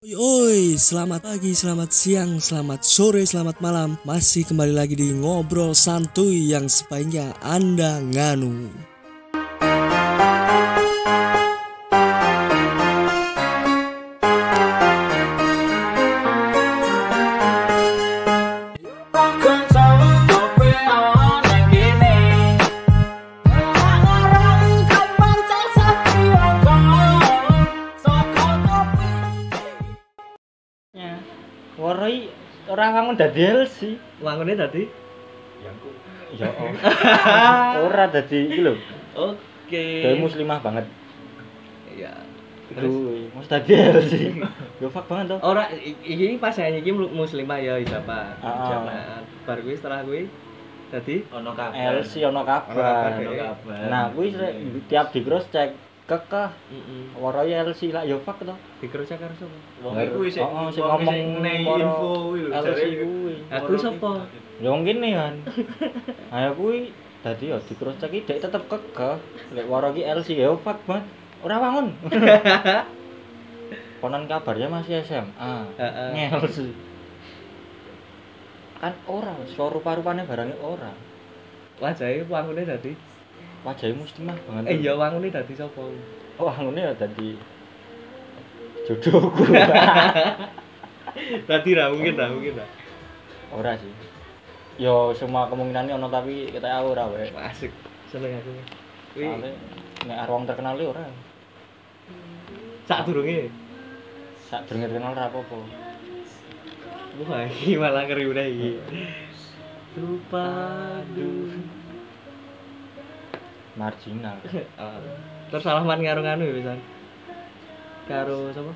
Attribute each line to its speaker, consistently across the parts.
Speaker 1: Oi, oi, selamat pagi, selamat siang, selamat sore, selamat malam. Masih kembali lagi di ngobrol santuy yang sepanjang Anda nganu.
Speaker 2: Ya. Warai orang kamu dadi DLC.
Speaker 1: Wangunnya tadi?
Speaker 2: Ya
Speaker 3: oh.
Speaker 2: Ora dadi iki lho. Dadi
Speaker 1: Oke.
Speaker 2: muslimah banget.
Speaker 1: Ya.
Speaker 2: Aduh, mesti dadi DLC. Yo fuck banget toh.
Speaker 1: Ora i- iki pas yang iki muslimah ya Ijabah.
Speaker 2: Ah, ah.
Speaker 1: Ijabah. Bar kuwi setelah kuwi tadi
Speaker 3: ono kabel
Speaker 2: LC ono
Speaker 3: Ah,
Speaker 2: kabar.
Speaker 3: ono kabel
Speaker 2: Nah, kuwi sre- tiap di cross check kekeh
Speaker 1: heeh.
Speaker 2: warai LC lah yo fuck toh.
Speaker 1: Dikerja karo sapa?
Speaker 3: wong iku sing
Speaker 2: Oh, oh, sing
Speaker 3: wong
Speaker 2: ngomong
Speaker 3: neng
Speaker 2: para
Speaker 3: info gitu. kuwi lho
Speaker 2: LC
Speaker 3: jare
Speaker 2: kuwi.
Speaker 1: Aku sapa?
Speaker 2: Ya wong kene kan. Ayo kuwi dadi yo di cross check iki dek tetep kekeh. Lek warai iki LC yo fuck banget. Ora wangun. Konon kabarnya masih SMA.
Speaker 1: Heeh.
Speaker 2: ngel sih kan ora suara rupa-rupanya barangnya ora
Speaker 1: Wajahe wangune tadi.
Speaker 2: wajahnya muslimah banget
Speaker 1: Eh ya wangune tadi sapa?
Speaker 2: oh angunnya ya tadi jodohku
Speaker 1: Tadi ra mungkin ra mungkin ra.
Speaker 2: ora sih yo semua kemungkinannya ono tapi kita ora wae
Speaker 1: Asik. Seneng aku. Kuwi
Speaker 2: soalnya nek arwang terkenal ya ora
Speaker 1: sak durunge.
Speaker 2: sak durunge terkenal ora apa-apa
Speaker 1: Wah, iki malah ngeri udah iki. Terpadu.
Speaker 2: marginal
Speaker 1: Ah. Terus salaman karo nganu ya pisan. Karo sapa?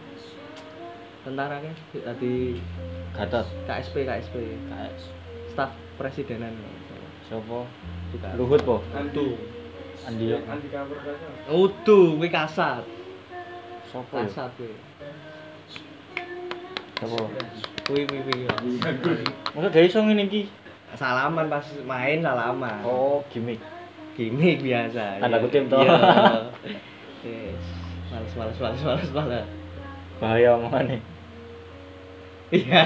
Speaker 1: Tentara kan tadi
Speaker 2: gatot
Speaker 1: KSP KSP
Speaker 2: KS
Speaker 1: staf presidenan.
Speaker 2: sapa
Speaker 1: Juga.
Speaker 2: Luhut po ya?
Speaker 3: antu
Speaker 2: Andi yo
Speaker 3: anti kabel kan
Speaker 1: Udu, kuwi kasat.
Speaker 2: sapa yo
Speaker 1: Kasat kuwi.
Speaker 2: sapa
Speaker 1: Kuwi kuwi kuwi.
Speaker 2: masa gak iso ngene iki
Speaker 1: Salaman pas main salaman.
Speaker 2: oh gimmick
Speaker 1: Gimik biasa.
Speaker 2: Tanda
Speaker 1: iya.
Speaker 2: kutip, toh.
Speaker 1: Iya. Yes. Males males males males males.
Speaker 2: bahaya omongane
Speaker 1: Iya.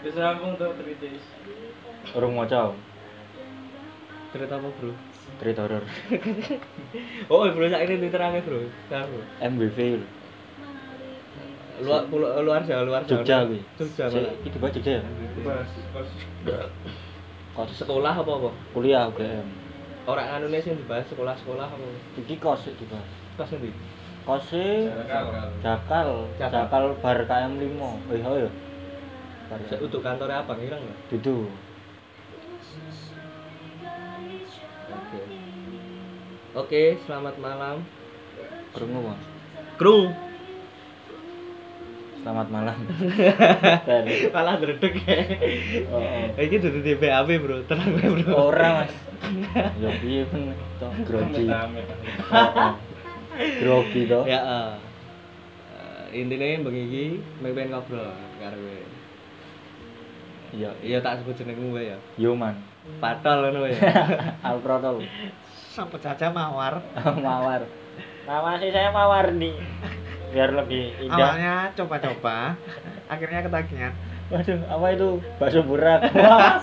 Speaker 3: wis rampung to 3 days
Speaker 2: urung maca
Speaker 1: Cerita apa, Bro?
Speaker 2: cerita horor
Speaker 1: Oh, Bro, sakit ini terangnya, Bro. Terang, Bro.
Speaker 2: MBV lho.
Speaker 1: luar pulau- luar jawa luar jawa
Speaker 2: Jogja kuwi.
Speaker 1: Jogja malah.
Speaker 2: Sik, Iki bae Jogja ya.
Speaker 3: pas pas
Speaker 2: Kos
Speaker 1: sekolah apa apa
Speaker 2: kuliah UGM.
Speaker 1: orang anu anune sing dibahas sekolah sekolah apa
Speaker 2: Iki kos sik dibahas.
Speaker 1: kelas nanti
Speaker 2: Kos e
Speaker 3: jarak
Speaker 2: Jakal,
Speaker 1: Jakal.
Speaker 2: Jakal bar KM 5. Eh ayo. Bar
Speaker 1: untuk kantor apa ngilang nggak
Speaker 2: dudu.
Speaker 1: oke oke selamat malam
Speaker 2: Krungu Bang.
Speaker 1: kru
Speaker 2: Selamat malam.
Speaker 1: malah dredeg ya Nah, ini duduk di BAB bro tenang ya bro
Speaker 2: Ora Mas. Yo Ya, piye pun to grogi.
Speaker 3: amit
Speaker 2: Heeh. Grogi to.
Speaker 1: ya eh. Eh, intinya begini pengen ngobrol karo gue
Speaker 2: Iya.
Speaker 1: iya tak sebut jenengmu gue ya
Speaker 2: Yo man.
Speaker 1: patol ngono ya
Speaker 2: Alpro to.
Speaker 1: sampai caca mawar
Speaker 2: Mawar. Nama sih saya Mawar nih. Biar lebih indah.
Speaker 1: awalnya Ya, coba-coba akhirnya ketagihan
Speaker 2: Waduh, apa itu? Bakso burak. Wah,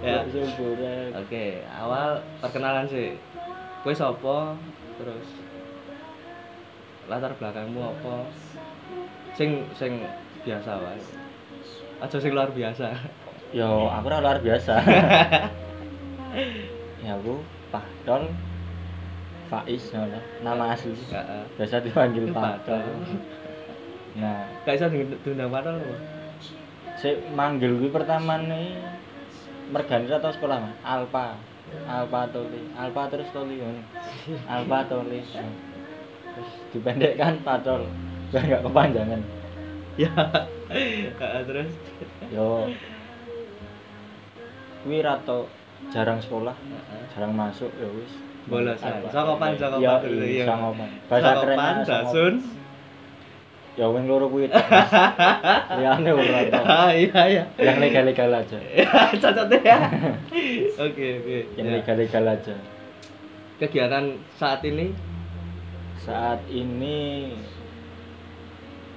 Speaker 1: ya
Speaker 2: Bakso burak.
Speaker 1: Oke, awal perkenalan sih. Kue sopo, terus latar belakangmu apa? Sing sing biasa wae. Aja sing luar biasa.
Speaker 2: Yo, aku ora luar biasa. ya aku Pahdol Faiz ngono. Nama asli.
Speaker 1: Heeh.
Speaker 2: Biasa dipanggil
Speaker 1: Padahal.
Speaker 2: Pahdol. Nah,
Speaker 1: Gak iso diund- diundang padahal lho.
Speaker 2: si manggil gue pertama nih mergani atau sekolah mah alpa alpa toli alpa terus toli ini alpa toli terus dipendekkan padol biar nggak kepanjangan
Speaker 1: Ya. Heeh, terus
Speaker 2: yo kuwi rato jarang sekolah
Speaker 1: Heeh.
Speaker 2: jarang masuk ya wis
Speaker 1: Bolosan. Sokopan, sokopan
Speaker 2: Yo,
Speaker 1: dulu,
Speaker 2: iya,
Speaker 1: iya.
Speaker 2: sokopan bahasa keren
Speaker 1: Sokopan, dasun.
Speaker 2: ya wing loro kuwi tok. liyane ora tok.
Speaker 1: Ah, iya iya.
Speaker 2: yang legal-legal aja
Speaker 1: Cocoknya ya. Oke, oke.
Speaker 2: yang
Speaker 1: Ya.
Speaker 2: legal-legal aja
Speaker 1: kegiatan saat ini
Speaker 2: saat ini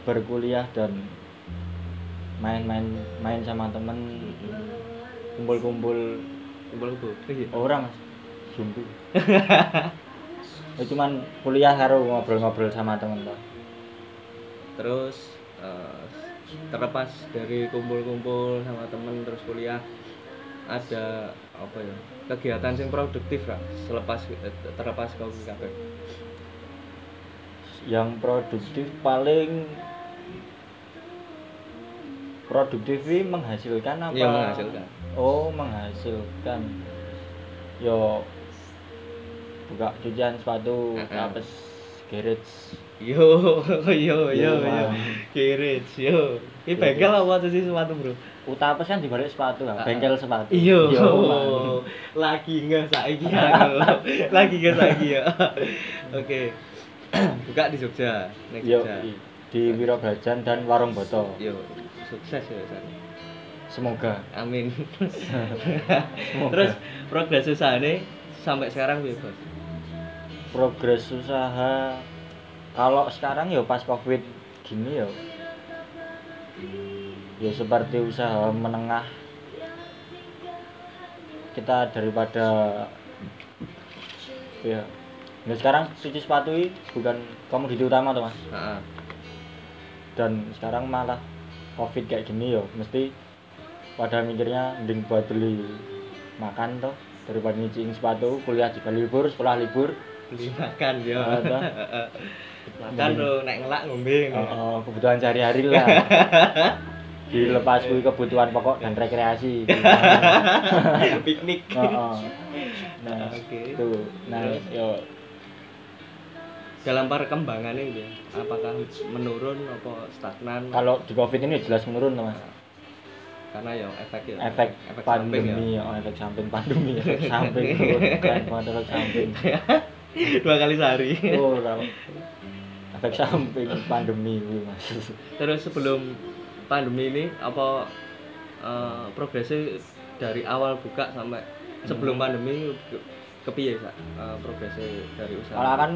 Speaker 2: berkuliah dan main-main main sama temen kumpul-kumpul
Speaker 1: kumpul-kumpul. Iya.
Speaker 2: orang mas jumbo ya, cuman kuliah karo ngobrol-ngobrol sama temen toh
Speaker 1: Terus eh, terlepas dari kumpul-kumpul sama temen terus kuliah ada apa ya kegiatan yang produktif lah selepas eh, terlepas kau kabeh.
Speaker 2: yang produktif paling produktif ini menghasilkan apa?
Speaker 1: Iya, menghasilkan.
Speaker 2: Oh menghasilkan. Yo buka cucian sepatu,
Speaker 1: Heeh.
Speaker 2: tapes garage.
Speaker 1: Yo, yo, yo,
Speaker 2: Yo,
Speaker 1: yo,
Speaker 2: Bang.
Speaker 1: kirit, yo. Ini bengkel
Speaker 2: ya.
Speaker 1: apa tuh sih sepatu bro?
Speaker 2: Utapes kan dibalik sepatu, kan?
Speaker 1: Heeh.
Speaker 2: bengkel sepatu.
Speaker 1: Iyo,
Speaker 2: Yo,
Speaker 1: lagi nggak saiki ya, lo. lagi nggak saiki ya. Oke, buka di Jogja,
Speaker 2: Mang.
Speaker 1: next
Speaker 2: Yo,
Speaker 1: Jogja.
Speaker 2: i- di Wirobrajan dan Warung Boto.
Speaker 1: Yo, sukses ya San.
Speaker 2: Semoga.
Speaker 1: Amin.
Speaker 2: Semoga.
Speaker 1: Terus progres usahane sampai sekarang bebas.
Speaker 2: progres usaha kalau sekarang ya pas covid gini ya ya seperti usaha menengah kita daripada ya nah sekarang cuci sepatu ini bukan komoditi utama tuh mas
Speaker 1: Heeh.
Speaker 2: dan sekarang malah covid kayak gini ya mesti pada mikirnya mending buat beli makan toh daripada nyicing sepatu kuliah juga libur sekolah libur
Speaker 1: Beli makan yo.
Speaker 2: Ada. Iya.
Speaker 1: makan lo naik ngelak ngombe.
Speaker 2: Oh, kebutuhan sehari-hari lah. Dilepas kuwi kebutuhan pokok dan rekreasi.
Speaker 1: Piknik.
Speaker 2: Oh, oh. Nah,
Speaker 1: Oke.
Speaker 2: itu. Nah,
Speaker 1: Terus?
Speaker 2: yo
Speaker 1: Dalam perkembangannya ya, apakah menurun apa stagnan?
Speaker 2: kalau di Covid ini jelas menurun, Mas.
Speaker 1: karena ya efek ya
Speaker 2: Efek,
Speaker 1: samping ya
Speaker 2: pandemi, oh, efek samping pandemi, efek samping, oh, keren banget efek samping.
Speaker 1: dua kali sehari
Speaker 2: Oh, kalau efek samping pandemi kuwi, Mas.
Speaker 1: terus sebelum pandemi ini apa eh, progresnya dari awal buka sampai sebelum pandemi ke- kepiye sak eh, progresnya dari usaha
Speaker 2: Kalau kan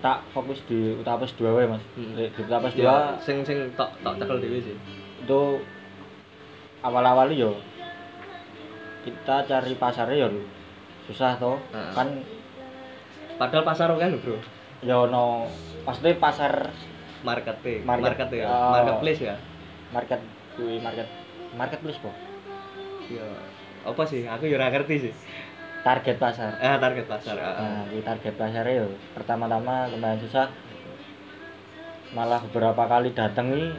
Speaker 2: tak fokus di Utapes 2 wae, Mas.
Speaker 1: Hmm.
Speaker 2: Di Utapes 2
Speaker 1: ya sing sing tok tok cekel dhewe sih
Speaker 2: itu awal-awal yo kita cari pasarnya yo susah toh
Speaker 1: Heeh.
Speaker 2: kan
Speaker 1: padahal pasar kan bro
Speaker 2: yo no pasti pasar
Speaker 1: marketing
Speaker 2: Market-
Speaker 1: market ya
Speaker 2: oh.
Speaker 1: marketplace ya
Speaker 2: market kui market marketplace po
Speaker 1: ya apa sih aku ya ora ngerti sih
Speaker 2: target pasar
Speaker 1: eh target pasar heeh.
Speaker 2: nah kui target pasarnya yo pertama-tama lumayan susah malah beberapa kali datangi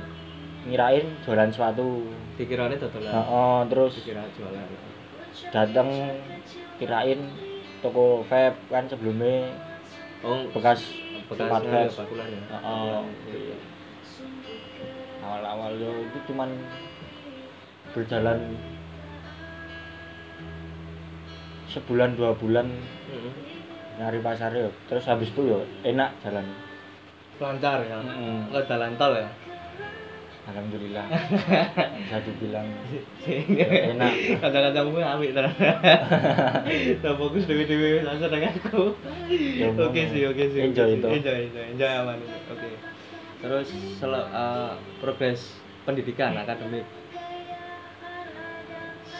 Speaker 2: ngirain jualan suatu
Speaker 1: dikirane dodolan
Speaker 2: oh, terus
Speaker 1: dikira jualan
Speaker 2: datang kirain toko vape kan sebelumnya
Speaker 1: oh
Speaker 2: bekas
Speaker 1: bekas
Speaker 2: tempat
Speaker 1: ya,
Speaker 2: vape
Speaker 1: bakulan ya
Speaker 2: Oh, iya. awal-awal yo itu cuman berjalan sebulan dua bulan
Speaker 1: Mm-mm.
Speaker 2: nyari pasar yo terus habis itu yo enak jalan
Speaker 1: lancar ya
Speaker 2: Mm-mm.
Speaker 1: nggak jalan tol ya
Speaker 2: alhamdulillah bisa dibilang
Speaker 1: Iya.
Speaker 2: yo, enak
Speaker 1: kadang-kadang gue ambil ternyata tak fokus dewi dewi langsung dengan aku
Speaker 2: Ya,
Speaker 1: oke
Speaker 2: mau.
Speaker 1: sih oke sih oke
Speaker 2: Enjoy
Speaker 1: sih.
Speaker 2: itu.
Speaker 1: enjoy enjoy enjoy aman oke terus sel- eh,
Speaker 2: uh,
Speaker 1: progres pendidikan akademik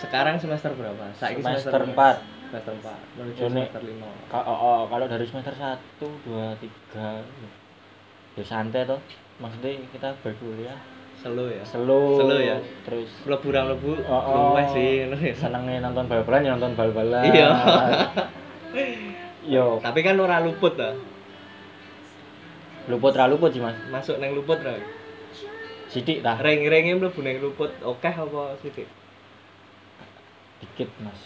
Speaker 1: sekarang semester berapa? Saiki
Speaker 2: Semester empat.
Speaker 1: Semester 4 menuju
Speaker 2: Ini-
Speaker 1: semester
Speaker 2: Ka- oh, oh, kalau dari semester satu dua tiga ya santai toh maksudnya kita berkuliah
Speaker 1: 5. Selo ya.
Speaker 2: slow
Speaker 1: Slow ya.
Speaker 2: terus
Speaker 1: Mlebu ra mlebu
Speaker 2: Oh,
Speaker 1: luwes sih. ngono ya.
Speaker 2: senengnya nonton bal-balan ya nonton bal-balan
Speaker 1: Iya.
Speaker 2: yo
Speaker 1: Tapi kan ora luput ta.
Speaker 2: luput ra luput sih mas
Speaker 1: Masuk nang luput ra.
Speaker 2: sidik tah
Speaker 1: Ring-ringe mlebu nang luput okeh apa sithik?
Speaker 2: dikit mas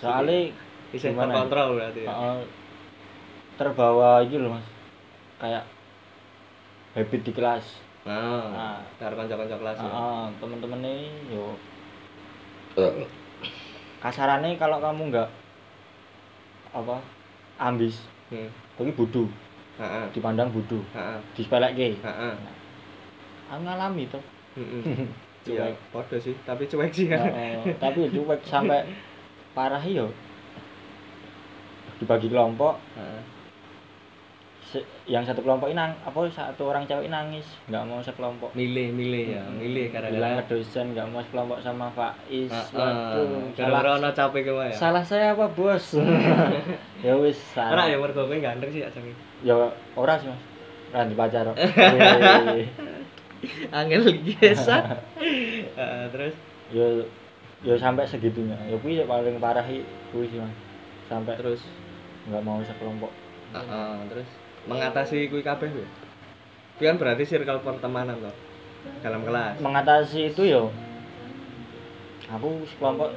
Speaker 2: soalnya
Speaker 1: Bisa
Speaker 2: Gimana?
Speaker 1: terkontrol berarti. ya?
Speaker 2: uh, terbawa gitu loh mas kayak habit di kelas
Speaker 1: Nah,
Speaker 2: Nah.
Speaker 1: karo kanca-kanca Ah, kelas ya.
Speaker 2: uh, temen-temen ini yo kasarannya kalau kamu nggak apa ambis
Speaker 1: Hmm. Ah,
Speaker 2: tapi bodoh
Speaker 1: Heeh.
Speaker 2: dipandang bodoh
Speaker 1: Heeh.
Speaker 2: dispelek ke
Speaker 1: Heeh.
Speaker 2: aku ngalami tuh
Speaker 1: Heeh. Iya,
Speaker 2: cuek
Speaker 1: podo hmm. sih, tapi Ah, cuek sih kan.
Speaker 2: Heeh, tapi cuek sampai parah yo dibagi kelompok
Speaker 1: Heeh.
Speaker 2: Se- yang satu kelompok ini nang- apa satu orang cewek ini nangis nggak mau sekelompok
Speaker 1: milih milih ya milih
Speaker 2: bilang
Speaker 1: karena
Speaker 2: ke dosen nggak mau sekelompok sama Faiz Waduh,
Speaker 1: karena
Speaker 2: salah,
Speaker 1: ono capek gue ya
Speaker 2: salah saya apa bos ya wis
Speaker 1: Ora
Speaker 2: salah
Speaker 1: ya mergo kowe ganteng sih ajeng.
Speaker 2: ya ora sih mas Randy pacar kok. Wih.
Speaker 1: Angel biasa. Ah, terus
Speaker 2: ya ya sampai segitunya ya kuwi yang paling parah i- kuwi sih mas sampai
Speaker 1: terus
Speaker 2: nggak mau sekelompok
Speaker 1: heeh, Ah, terus Hmm. mengatasi kuwi kabeh kuwi. Kuwi kan berarti circle pertemanan toh. Dalam kelas.
Speaker 2: mengatasi itu yo aku sekelompok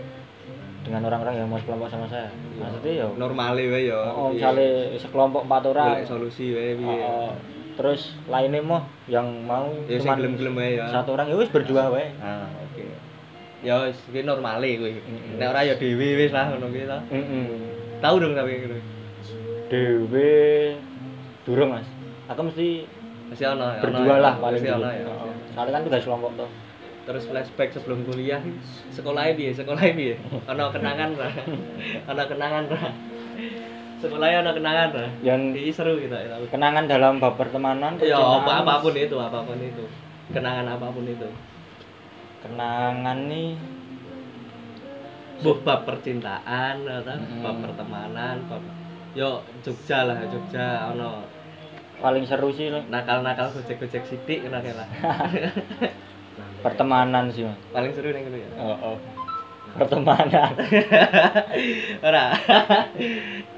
Speaker 2: dengan orang-orang yang mau sekelompok sama saya
Speaker 1: Iya.
Speaker 2: maksudnya yo
Speaker 1: normale wae ya.
Speaker 2: oh,
Speaker 1: Piye.
Speaker 2: misalnya sekelompok empat orang
Speaker 1: Golek solusi wae piye.
Speaker 2: oh, terus lainnya mau yang mau
Speaker 1: Ya sing
Speaker 2: cuman
Speaker 1: gelem-gelem wae ya.
Speaker 2: satu orang ya wis berdua wae
Speaker 1: Ah, oke. Ya wis kuwi normale kuwi.
Speaker 2: Mm-mm.
Speaker 1: Nek ora ya dhewe wis lah ngono kuwi ta.
Speaker 2: mm
Speaker 1: Tahu dong tapi ngono.
Speaker 2: dewe durung mas aku mesti
Speaker 1: Masih ono. ya, ono,
Speaker 2: berdua
Speaker 1: ono,
Speaker 2: lah paling
Speaker 1: masih ono
Speaker 2: dulu
Speaker 1: ya.
Speaker 2: Oh, soalnya kan tugas kelompok tuh
Speaker 1: terus flashback sebelum kuliah sekolahnya piye sekolahnya piye ana kenangan ra ana kenangan ra sekolahnya ana kenangan ra
Speaker 2: yang
Speaker 1: ini seru gitu ya tapi
Speaker 2: kenangan dalam bab pertemanan
Speaker 1: ya
Speaker 2: percintaan,
Speaker 1: apa apapun itu apapun itu kenangan apapun itu
Speaker 2: kenangan nih
Speaker 1: Buh, bab percintaan atau
Speaker 2: Mm-mm.
Speaker 1: bab pertemanan bab yo Jogja lah Jogja ono
Speaker 2: paling seru sih Lek.
Speaker 1: nakal-nakal gojek-gojek sithik ngono kae lah
Speaker 2: pertemanan sih mas
Speaker 1: paling seru ning ngono ya
Speaker 2: oh, oh. pertemanan
Speaker 1: ora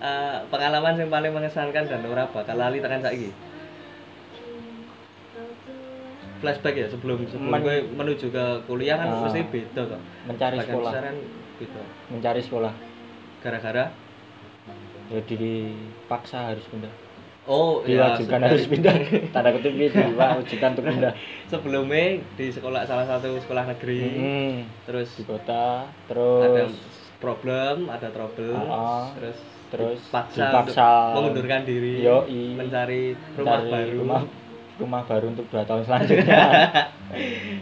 Speaker 1: Eh, pengalaman yang paling mengesankan dan ora bakal lali tekan saiki flashback ya sebelum sebelum
Speaker 2: Men-
Speaker 1: gue menuju ke kuliah kan
Speaker 2: Ah.
Speaker 1: mesti beda kok
Speaker 2: mencari
Speaker 1: Bagian
Speaker 2: sekolah
Speaker 1: besar kan beda
Speaker 2: mencari sekolah
Speaker 1: gara-gara
Speaker 2: jadi paksa harus pindah
Speaker 1: oh ya
Speaker 2: diwajibkan
Speaker 1: se-
Speaker 2: harus pindah tanda kutip gitu diwajibkan untuk pindah
Speaker 1: sebelumnya di sekolah salah satu sekolah negeri
Speaker 2: hmm,
Speaker 1: terus
Speaker 2: di kota
Speaker 1: ada
Speaker 2: terus
Speaker 1: problem ada trouble
Speaker 2: Ah.
Speaker 1: terus
Speaker 2: terus
Speaker 1: paksa
Speaker 2: dipaksa
Speaker 1: mengundurkan diri
Speaker 2: Yoi.
Speaker 1: mencari rumah
Speaker 2: Cari
Speaker 1: baru
Speaker 2: rumah, rumah baru untuk dua tahun selanjutnya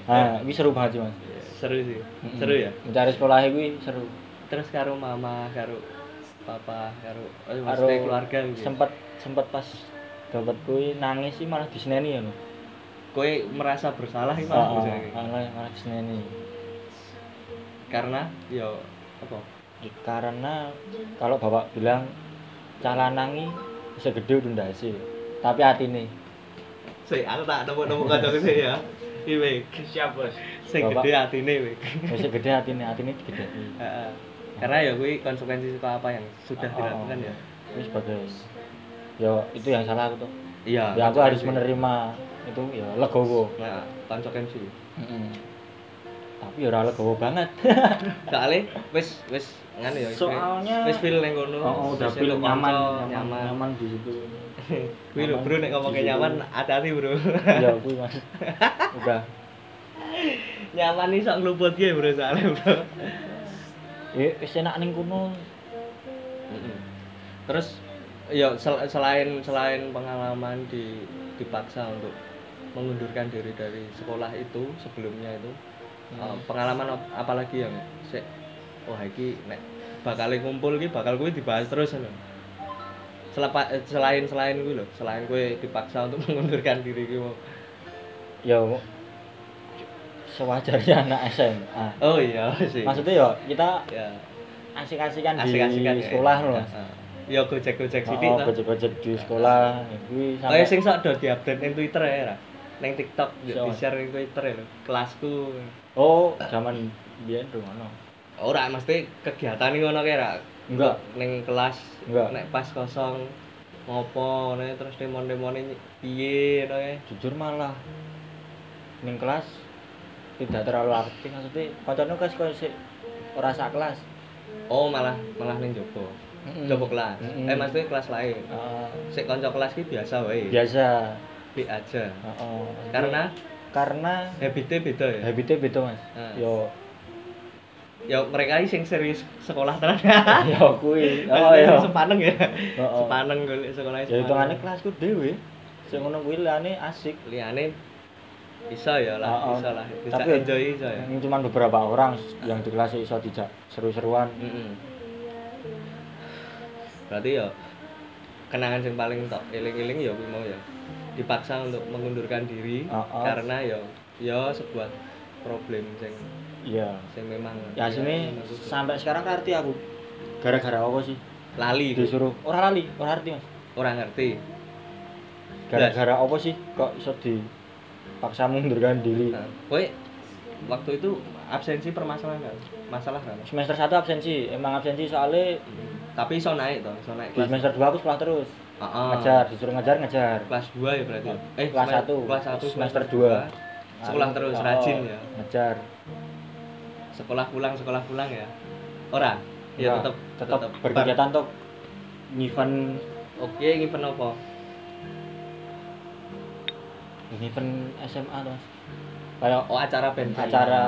Speaker 2: nah ini seru banget sih mas
Speaker 1: seru sih seru ya
Speaker 2: mencari sekolah gue seru
Speaker 1: terus karo mama karo papa karo oh,
Speaker 2: Karo
Speaker 1: maksudnya keluarga gitu
Speaker 2: sempet sempet pas dapat kui nangis sih malah diseneni ya loh
Speaker 1: kowe merasa bersalah iki malah
Speaker 2: malah
Speaker 1: bisa kayak gitu.
Speaker 2: malah diseneni
Speaker 1: karena ya apa
Speaker 2: Ya, karena kalau bapak bilang calanangi segede udah ndase tapi hati nih
Speaker 1: sih aku tak nemu nemu kocok sih ya iki wek
Speaker 3: Siap bos.
Speaker 1: sing
Speaker 2: Bapak.
Speaker 1: gede atine wek
Speaker 2: segede hati nih hati nih gede
Speaker 1: Heeh. karena ya kuwi konsekuensi suka apa yang sudah
Speaker 2: Oh,
Speaker 1: dilakukan ya
Speaker 2: ini sebagai ya itu yang salah aku tuh
Speaker 1: iya
Speaker 2: ya aku harus
Speaker 1: konsekuensi.
Speaker 2: menerima itu ya legowo
Speaker 1: nah konsekuensi
Speaker 2: tapi ya ora legowo banget
Speaker 1: soalnya wis wis ngene ya istilahnya.
Speaker 2: Soalnya-
Speaker 1: wis feel ning kono wis
Speaker 2: feel
Speaker 1: elok kanca, oh, nyaman
Speaker 2: nyaman di situ
Speaker 1: kuwi lho bro nek ngomongke nyaman hati-hati bro
Speaker 2: ya kuwi mas udah
Speaker 1: nyaman nih sok ngeluput gue bro soalnya bro
Speaker 2: Eh, wis enak ning kono.
Speaker 1: terus ya sel- selain selain pengalaman di dipaksa untuk mengundurkan diri dari sekolah itu sebelumnya itu
Speaker 2: Mm.
Speaker 1: eh, pengalaman ap- apalagi yang sik oh iki nek bakal ngumpul iki bakal gue dibahas terus lho. Selepa, eh, selain selain gue loh selain gue dipaksa untuk mengundurkan diri gue
Speaker 2: Ya sewajarnya anak SMA.
Speaker 1: oh iya sih
Speaker 2: Maksudnya ya kita
Speaker 1: ya
Speaker 2: asik-asikan
Speaker 1: asik-asikan
Speaker 2: di sekolah loh. Mas.
Speaker 1: ya gojek gojek sithik
Speaker 2: Oh,
Speaker 1: toh.
Speaker 2: gojek-gojek di sekolah kuwi sampai
Speaker 1: Kayak sing sok do diupdate ning Twitter ya, Ra. Ning TikTok yo
Speaker 2: Siapa?
Speaker 1: di-share ning Twitter ya lho. Kelasku.
Speaker 2: Oh, zaman biyen rumono.
Speaker 1: Ora mesti kegiatan iki ngono kae, Ra.
Speaker 2: Enggak,
Speaker 1: Ning kelas
Speaker 2: Enggak.
Speaker 1: nek pas kosong ngopo ngono ya, terus demon-demone piye ngono ya.
Speaker 2: jujur malah ning kelas tidak terlalu aktif maksudnya koncone kelas kok sik ora sak kelas.
Speaker 1: Oh, malah malah ning jopo.
Speaker 2: Hmm.
Speaker 1: Jopo kelas.
Speaker 2: Mm-mm.
Speaker 1: Eh maksudnya kelas lain.
Speaker 2: Eh,
Speaker 1: Sik kanca kelas ki biasa wae.
Speaker 2: biasa.
Speaker 1: Bi aja.
Speaker 2: Heeh.
Speaker 1: Karena
Speaker 2: karena
Speaker 1: habitnya beda ya.
Speaker 2: habitnya beda mas
Speaker 1: Ah.
Speaker 2: yo
Speaker 1: Ya mereka iki sing serius sekolah tenan.
Speaker 2: yo kui oh
Speaker 1: Maksudnya
Speaker 2: yo
Speaker 1: Sepaneng ya.
Speaker 2: Oh, oh.
Speaker 1: Sepaneng golek sekolah.
Speaker 2: ya hitungannya kelasku dewe sing ngono kuwi liyane asik
Speaker 1: liane bisa ya lah,
Speaker 2: Oh, oh.
Speaker 1: bisa lah, bisa
Speaker 2: Tapi-
Speaker 1: enjoy bisa ya.
Speaker 2: ini cuma beberapa orang yang di kelas iso dijak seru-seruan
Speaker 1: Mm-mm. berarti ya kenangan yang paling tok eling-eling ya kuwi mau ya dipaksa untuk mengundurkan diri
Speaker 2: Oh, oh.
Speaker 1: karena ya ya sebuah problem sing
Speaker 2: Iya.
Speaker 1: sing memang
Speaker 2: Ya sini
Speaker 1: memang kudu.
Speaker 2: sampai sekarang ngerti aku. Gara-gara apa sih?
Speaker 1: Iya. lali
Speaker 2: Disuruh ora lali, ora ngerti Mas.
Speaker 1: orang ngerti
Speaker 2: Gara-gara apa sih kok iso dipaksa kan, mundurkan diri?
Speaker 1: nah, kowe waktu itu absensi permasalahan kan? masalah kan
Speaker 2: Semester 1 absensi, emang absensi soalnya
Speaker 1: tapi iso naik toh iso naik
Speaker 2: di
Speaker 1: kelas Ah,
Speaker 2: semester 2 aku sekolah terus.
Speaker 1: Heeh.
Speaker 2: Ngajar, disuruh ngajar, ngajar.
Speaker 1: kelas 2 ya berarti ya? eh
Speaker 2: Kelas
Speaker 1: semen-
Speaker 2: satu.
Speaker 1: kelas 1
Speaker 2: Semester dua.
Speaker 1: sekolah
Speaker 2: Lalu,
Speaker 1: terus
Speaker 2: oh,
Speaker 1: rajin ya
Speaker 2: Ngajar.
Speaker 1: sekolah pulang sekolah pulang ya orang ya tetap
Speaker 2: tetap berkegiatan untuk event
Speaker 1: oke event apa
Speaker 2: event SMA tuh. Mas. Kayak
Speaker 1: oh acara band
Speaker 2: Acara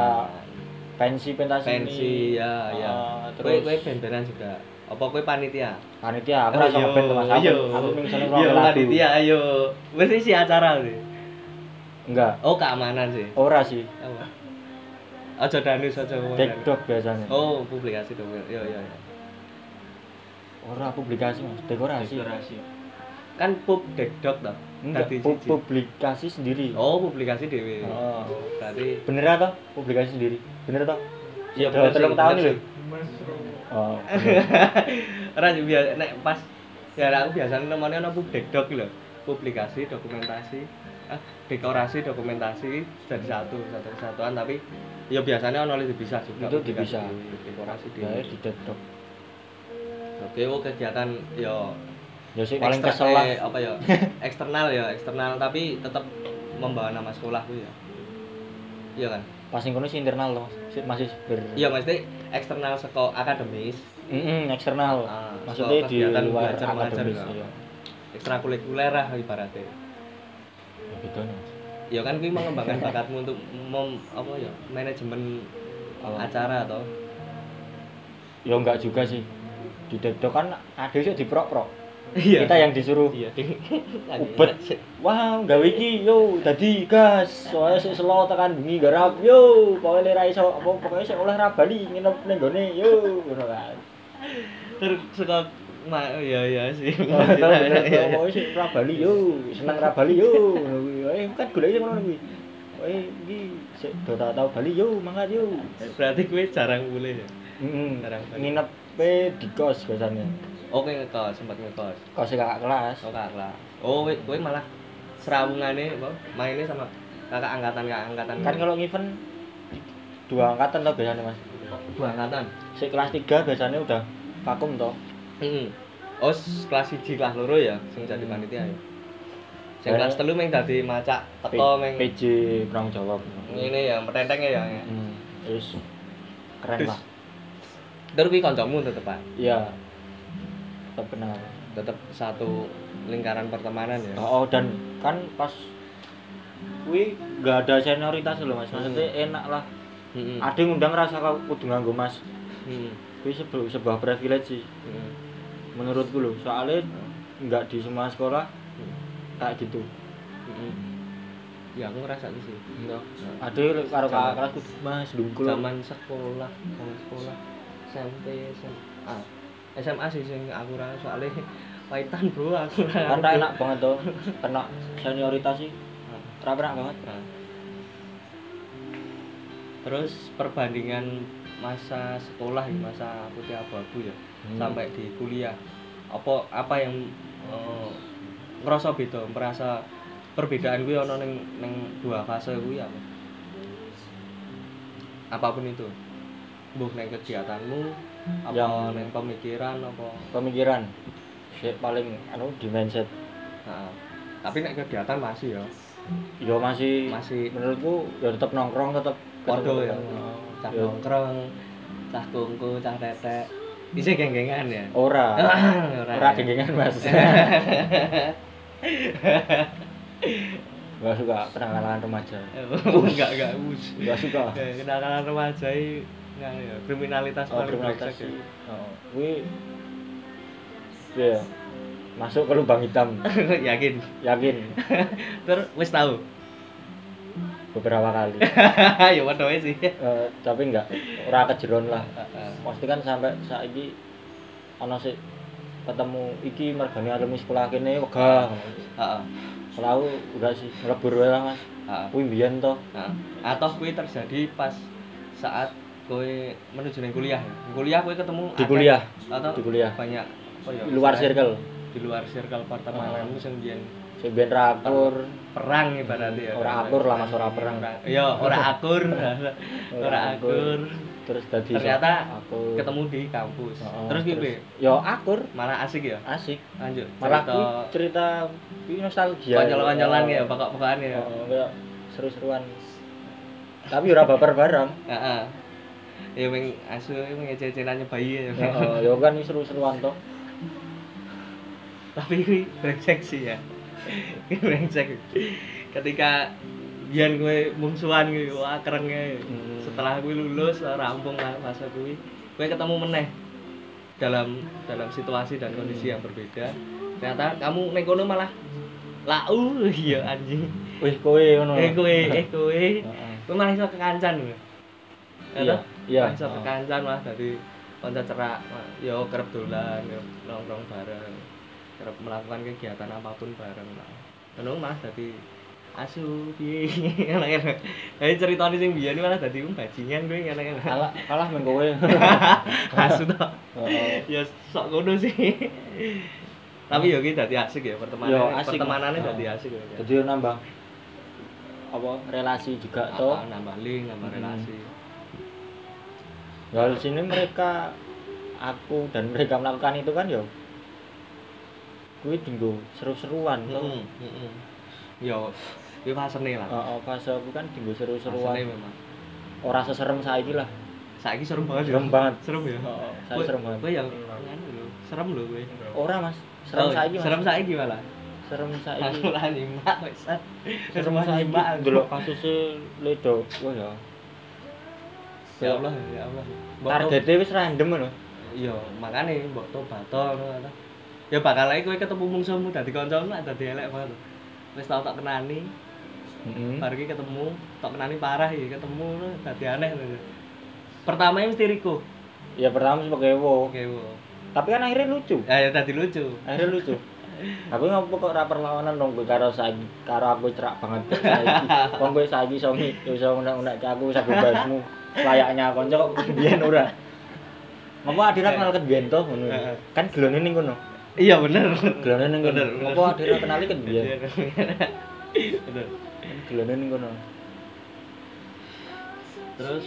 Speaker 2: pensi pentas
Speaker 1: pensi ya ya
Speaker 2: Ah, terus
Speaker 1: terus kowe band-bandan juga apa kowe panitia
Speaker 2: panitia aku rasa
Speaker 1: Ayo,
Speaker 2: ngeband tuh, mas aku
Speaker 1: ayo.
Speaker 2: aku ming seneng
Speaker 1: Iya,
Speaker 2: ngrokok lagu.
Speaker 1: panitia ayo wis isi acara sih
Speaker 2: Enggak.
Speaker 1: oh keamanan sih
Speaker 2: Ora sih.
Speaker 1: apa aja danus aja ngomong
Speaker 2: Cek
Speaker 1: danus.
Speaker 2: dog biasanya.
Speaker 1: oh publikasi dong ya, yo yo yo
Speaker 2: Ora publikasi Mas, dekorasi.
Speaker 3: Dekorasi.
Speaker 1: kan pub dek dok toh
Speaker 2: Enggak,
Speaker 1: Dadi
Speaker 2: pu-
Speaker 1: siji.
Speaker 2: publikasi sendiri.
Speaker 1: oh publikasi dewe
Speaker 2: Oh.
Speaker 1: berarti
Speaker 2: Bener ya, toh? Publikasi sendiri. Bener toh?
Speaker 1: Iya,
Speaker 2: Udah
Speaker 1: bener sih,
Speaker 2: telung
Speaker 1: bener
Speaker 2: tahun
Speaker 1: sih.
Speaker 2: nih.
Speaker 3: Mushroom.
Speaker 2: Oh. bener.
Speaker 1: Ora biasa nek pas ya aku biasanya nemoni ana pub dekdok lho. Publikasi, dokumentasi, ah, dekorasi, dokumentasi jadi satu, satu kesatuan tapi ya biasanya ono lebih bisa juga.
Speaker 2: Itu
Speaker 1: publikasi,
Speaker 2: dipisah.
Speaker 1: Dekorasi di.
Speaker 2: Ya di cek dog.
Speaker 1: Oke, wo kegiatan yo
Speaker 2: Ya sih paling kesel
Speaker 1: ekstra-
Speaker 2: lah.
Speaker 1: eh, apa ya? eksternal ya, eksternal tapi tetap membawa nama sekolah ku ya. Iya kan?
Speaker 2: Pas yang kono sih internal loh, Mas. Sih, masih ber
Speaker 1: Iya mesti eksternal seko akademis,
Speaker 2: Mm-mm, eksternal.
Speaker 1: Ah,
Speaker 2: Maksudnya
Speaker 1: soal
Speaker 2: di
Speaker 1: kegiatan
Speaker 2: luar
Speaker 1: belajar mengajar
Speaker 2: akademis
Speaker 1: juga.
Speaker 2: iya.
Speaker 1: ekstrakurikuler lah ibaratnya.
Speaker 2: Ya gitu nih. Mas.
Speaker 1: ya kan kuwi mengembangkan bakatmu untuk mem apa ya manajemen
Speaker 2: Oh.
Speaker 1: acara atau
Speaker 2: Ya enggak juga sih. Di Dekdok kan ada sih di prok-prok.
Speaker 1: iya
Speaker 2: Kita yang disuruh.
Speaker 1: iya ding
Speaker 2: Ubet. Wah, gawe iki yo dadi gas. Soalnya sik selo tekan bengi garap yo, pokoke ra iso apa pokoke sik oleh ra bali nginep ning gone yo ngono kan.
Speaker 1: terus suka ma ya ya sih
Speaker 2: Tau bener tau,
Speaker 1: Iya, iya.
Speaker 2: pokoke sik ra bali yo, seneng ra bali yo ngono kuwi. Eh kan goleke ngono kuwi. Eh iki sik do tak tau bali yo, mangkat yo.
Speaker 1: berarti gue jarang boleh ya
Speaker 2: Heeh.
Speaker 1: Jarang Bali.
Speaker 2: Nginep pe di kos biasanya.
Speaker 1: oke ngekos sempat ngekos
Speaker 2: Kos kakak kelas.
Speaker 1: oh kakak lah oh gue gue malah serawungannya apa, mainnya sama kakak angkatan kakak angkatan
Speaker 2: Kan kalau event dua angkatan tau biasanya, Mas.
Speaker 1: dua angkatan
Speaker 2: Si kelas 3 biasanya udah vakum toh.
Speaker 1: Mm-mm. oh s- kelas siji kelas loro ya sing jadi
Speaker 2: Mm.
Speaker 1: panitia ya sing kelas telu meng dadi macak teko meng
Speaker 2: PJ penanggung jawab.
Speaker 1: ini ya metenteng ya ya.
Speaker 2: Hmm, Terus keren
Speaker 1: Terus-
Speaker 2: lah.
Speaker 1: terus kuwi kancamu tetepan
Speaker 2: Iya. Tetap kenal.
Speaker 1: tetap satu lingkaran pertemanan ya
Speaker 2: Oh, oh, dan kan pas kuwi nggak ada senioritas loh Mas. Maksudnya enak lah.
Speaker 1: Mm-mm.
Speaker 2: Ada yang ngundang rasa kau kudu nganggo Mas.
Speaker 1: Mm-mm.
Speaker 2: Kuwi sebu- sebuah privilege sih
Speaker 1: Mm-mm.
Speaker 2: menurutku loh. Soalnya nggak di semua sekolah kayak gitu.
Speaker 1: Mm-mm. hmm. ya aku ngerasa itu sih
Speaker 2: Ada yang karo
Speaker 1: Zaman-
Speaker 2: kakak kelas kudu Mas dungkul.
Speaker 1: zaman sekolah zaman sekolah SMP SMA SMA sih sing aku rasa soalnya paitan bro aku
Speaker 2: Kan
Speaker 1: rasa
Speaker 2: ra enak banget toh. Kena senioritas sih. Ra enak banget.
Speaker 1: Nah. terus perbandingan masa sekolah ya, masa putih abu-abu ya
Speaker 2: Hmm.
Speaker 1: sampai di kuliah apa apa yang eh, ngerasa beda merasa perbedaan gue ono neng neng dua fase gue apa apapun itu buh neng kegiatanmu apa
Speaker 2: Yang-
Speaker 1: neng pemikiran apa
Speaker 2: pemikiran Sik paling anu di mindset
Speaker 1: Nah, tapi nek kegiatan masih ya
Speaker 2: yo masih
Speaker 1: Masih.
Speaker 2: menurutku ya tetap nongkrong tetap
Speaker 1: Podo
Speaker 2: ketemu
Speaker 1: ya.
Speaker 2: teman.
Speaker 1: cah
Speaker 2: Ya,
Speaker 1: nongkrong cah kungku cah tetek bisa genggengan ya
Speaker 2: ora ora
Speaker 1: ora ya.
Speaker 2: gengengan mas gak suka penangkalan remaja
Speaker 1: enggak enggak us
Speaker 2: gak suka
Speaker 1: Ya, kenakalan remaja ini nah, ya, kriminalitas
Speaker 2: oh
Speaker 1: paling
Speaker 2: kriminalitas
Speaker 1: brengsek ya.
Speaker 2: Oh, kuwi ya masuk ke lubang hitam
Speaker 1: yakin
Speaker 2: yakin
Speaker 1: terus wis tahu
Speaker 2: beberapa kali
Speaker 1: ya waduh sih
Speaker 2: Eh, tapi
Speaker 1: Ah,
Speaker 2: enggak ora kejeron lah
Speaker 1: Heeh.
Speaker 2: pasti kan sampai saiki ana sik ketemu iki mergane alumni sekolah kene wegah
Speaker 1: Heeh.
Speaker 2: selalu udah sih lebur wae lah mas
Speaker 1: Heeh.
Speaker 2: kuwi mbiyen to
Speaker 1: Nah, atau kue terjadi pas saat kue menuju ning kuliah ya. Di kuliah kue ketemu
Speaker 2: Di
Speaker 1: akeh-
Speaker 2: kuliah.
Speaker 1: atau
Speaker 2: Di kuliah.
Speaker 1: banyak apa ya,
Speaker 2: Di luar
Speaker 1: istilahnya,
Speaker 2: circle
Speaker 1: di luar circle pertemananmu sing biyen
Speaker 2: sing mbiyen rapur
Speaker 1: perang ibaratnya ya
Speaker 2: Ora akur lah, Mas, ora perang.
Speaker 1: iya ora akur ora akur
Speaker 2: terus dadi
Speaker 1: ternyata
Speaker 2: akur.
Speaker 1: ketemu di kampus
Speaker 2: Heeh,
Speaker 1: terus gitu
Speaker 2: ya akur
Speaker 1: malah asik ya
Speaker 2: asik
Speaker 1: lanjut
Speaker 2: malah
Speaker 1: cerita
Speaker 2: cerita, cerita kuwi nostalgia
Speaker 1: konyol-konyolan ya
Speaker 2: Pak
Speaker 1: pokok-pokokan ya
Speaker 2: Oh. seru-seruan tapi ora baper bareng
Speaker 1: heeh ya wing asu wing ece-ecenannya bayi ya
Speaker 2: Heeh, ya kan ini seru-seruan toh
Speaker 1: tapi ini brengsek sih ya ini brengsek ketika biar gue mungsuan gue wah kereng ya.
Speaker 2: Hmm.
Speaker 1: setelah gue lulus eh, rampung lah masa gue gue ketemu meneh dalam dalam situasi dan kondisi yang berbeda ternyata kamu neng kono malah lau iya anjing
Speaker 2: wih kowe ngono
Speaker 1: eh gue eh gue
Speaker 2: Heeh.
Speaker 1: gue malah iso kekancan gue
Speaker 2: Iya, iya.
Speaker 1: malah iso kekancan malah dari konco cerak Wah, yo kerep dolan yo nongkrong bareng kerep melakukan kegiatan apapun bareng lah Ngono malah dadi asu piye ngene Jadi ceritane sing biyen malah dadi wong bajingan kuwi ngene
Speaker 2: kalah kalah men kowe
Speaker 1: asu to
Speaker 2: Heeh.
Speaker 1: ya sok ngono sih tapi yo ki dadi asik
Speaker 2: Yo,
Speaker 1: ya pertemanannya
Speaker 2: asik, Mas.
Speaker 1: pertemanannya
Speaker 2: Oh.
Speaker 1: dadi asik ya.
Speaker 2: jadi nambah apa relasi juga toh
Speaker 1: Apa, nambah link nambah
Speaker 2: Hmm.
Speaker 1: relasi
Speaker 2: Nah, di sini mereka aku dan mereka melakukan itu kan ya kuwi dinggo seru-seruan toh.
Speaker 1: Heeh, heeh. Hmm, Yo, yo fasene lah.
Speaker 2: Heeh, fase aku kan dinggo
Speaker 1: Fasene
Speaker 2: seru-seruan.
Speaker 1: memang.
Speaker 2: Ora seserem saiki lah.
Speaker 1: Saiki serem banget.
Speaker 2: Serem banget.
Speaker 1: Serem ya.
Speaker 2: Heeh, saya
Speaker 1: Kowe-
Speaker 2: serem banget.
Speaker 1: Kowe yang anu lho, serem lho kowe.
Speaker 2: Ora, Mas. Serem
Speaker 1: Oh,
Speaker 2: saiki, Mas.
Speaker 1: Serem saiki malah.
Speaker 2: Serem saiki.
Speaker 1: Aku lah nyimak wis.
Speaker 2: Serem
Speaker 1: Serem
Speaker 2: saiki.
Speaker 1: nyimak aku.
Speaker 2: Delok kasusnya ledo. Wah ya.
Speaker 1: Ya Allah, ya Allah. Mbok to-
Speaker 2: Targetnya wis random lho.
Speaker 1: Yo, makane mbok tobat to ngono ta. Ya bakal ae kowe ketemu mungsuhmu dadi kancamu lah dadi elek banget. Wis tau tak kenani,
Speaker 2: Heeh.
Speaker 1: baru ki ketemu, tak kenani parah ya ketemu lho, dadi aneh lho. Pertama e mesti Riko.
Speaker 2: Ya pertama sebagai wo.
Speaker 1: Oke, wo.
Speaker 2: Tapi kan akhirnya lucu.
Speaker 1: Ah, Ya, ya tadi lucu.
Speaker 2: akhirnya lucu aku ngopo kok rapper lawanan dong gue karo saiki karo aku cerak banget kok saiki kon gue saiki iso ngi iso unek-unek ke aku saku basmu layaknya kanca kok biyen ora ngopo
Speaker 1: Eh.
Speaker 2: adira kenal ket biyen to ngono
Speaker 1: Heeh.
Speaker 2: kan gelone ning kono
Speaker 1: Iya bener.
Speaker 2: gelone ning kono
Speaker 1: Bener, bener.
Speaker 2: ngopo adira kenali ket biyen
Speaker 1: Bener.
Speaker 2: Kan gelone ning kono
Speaker 1: Terus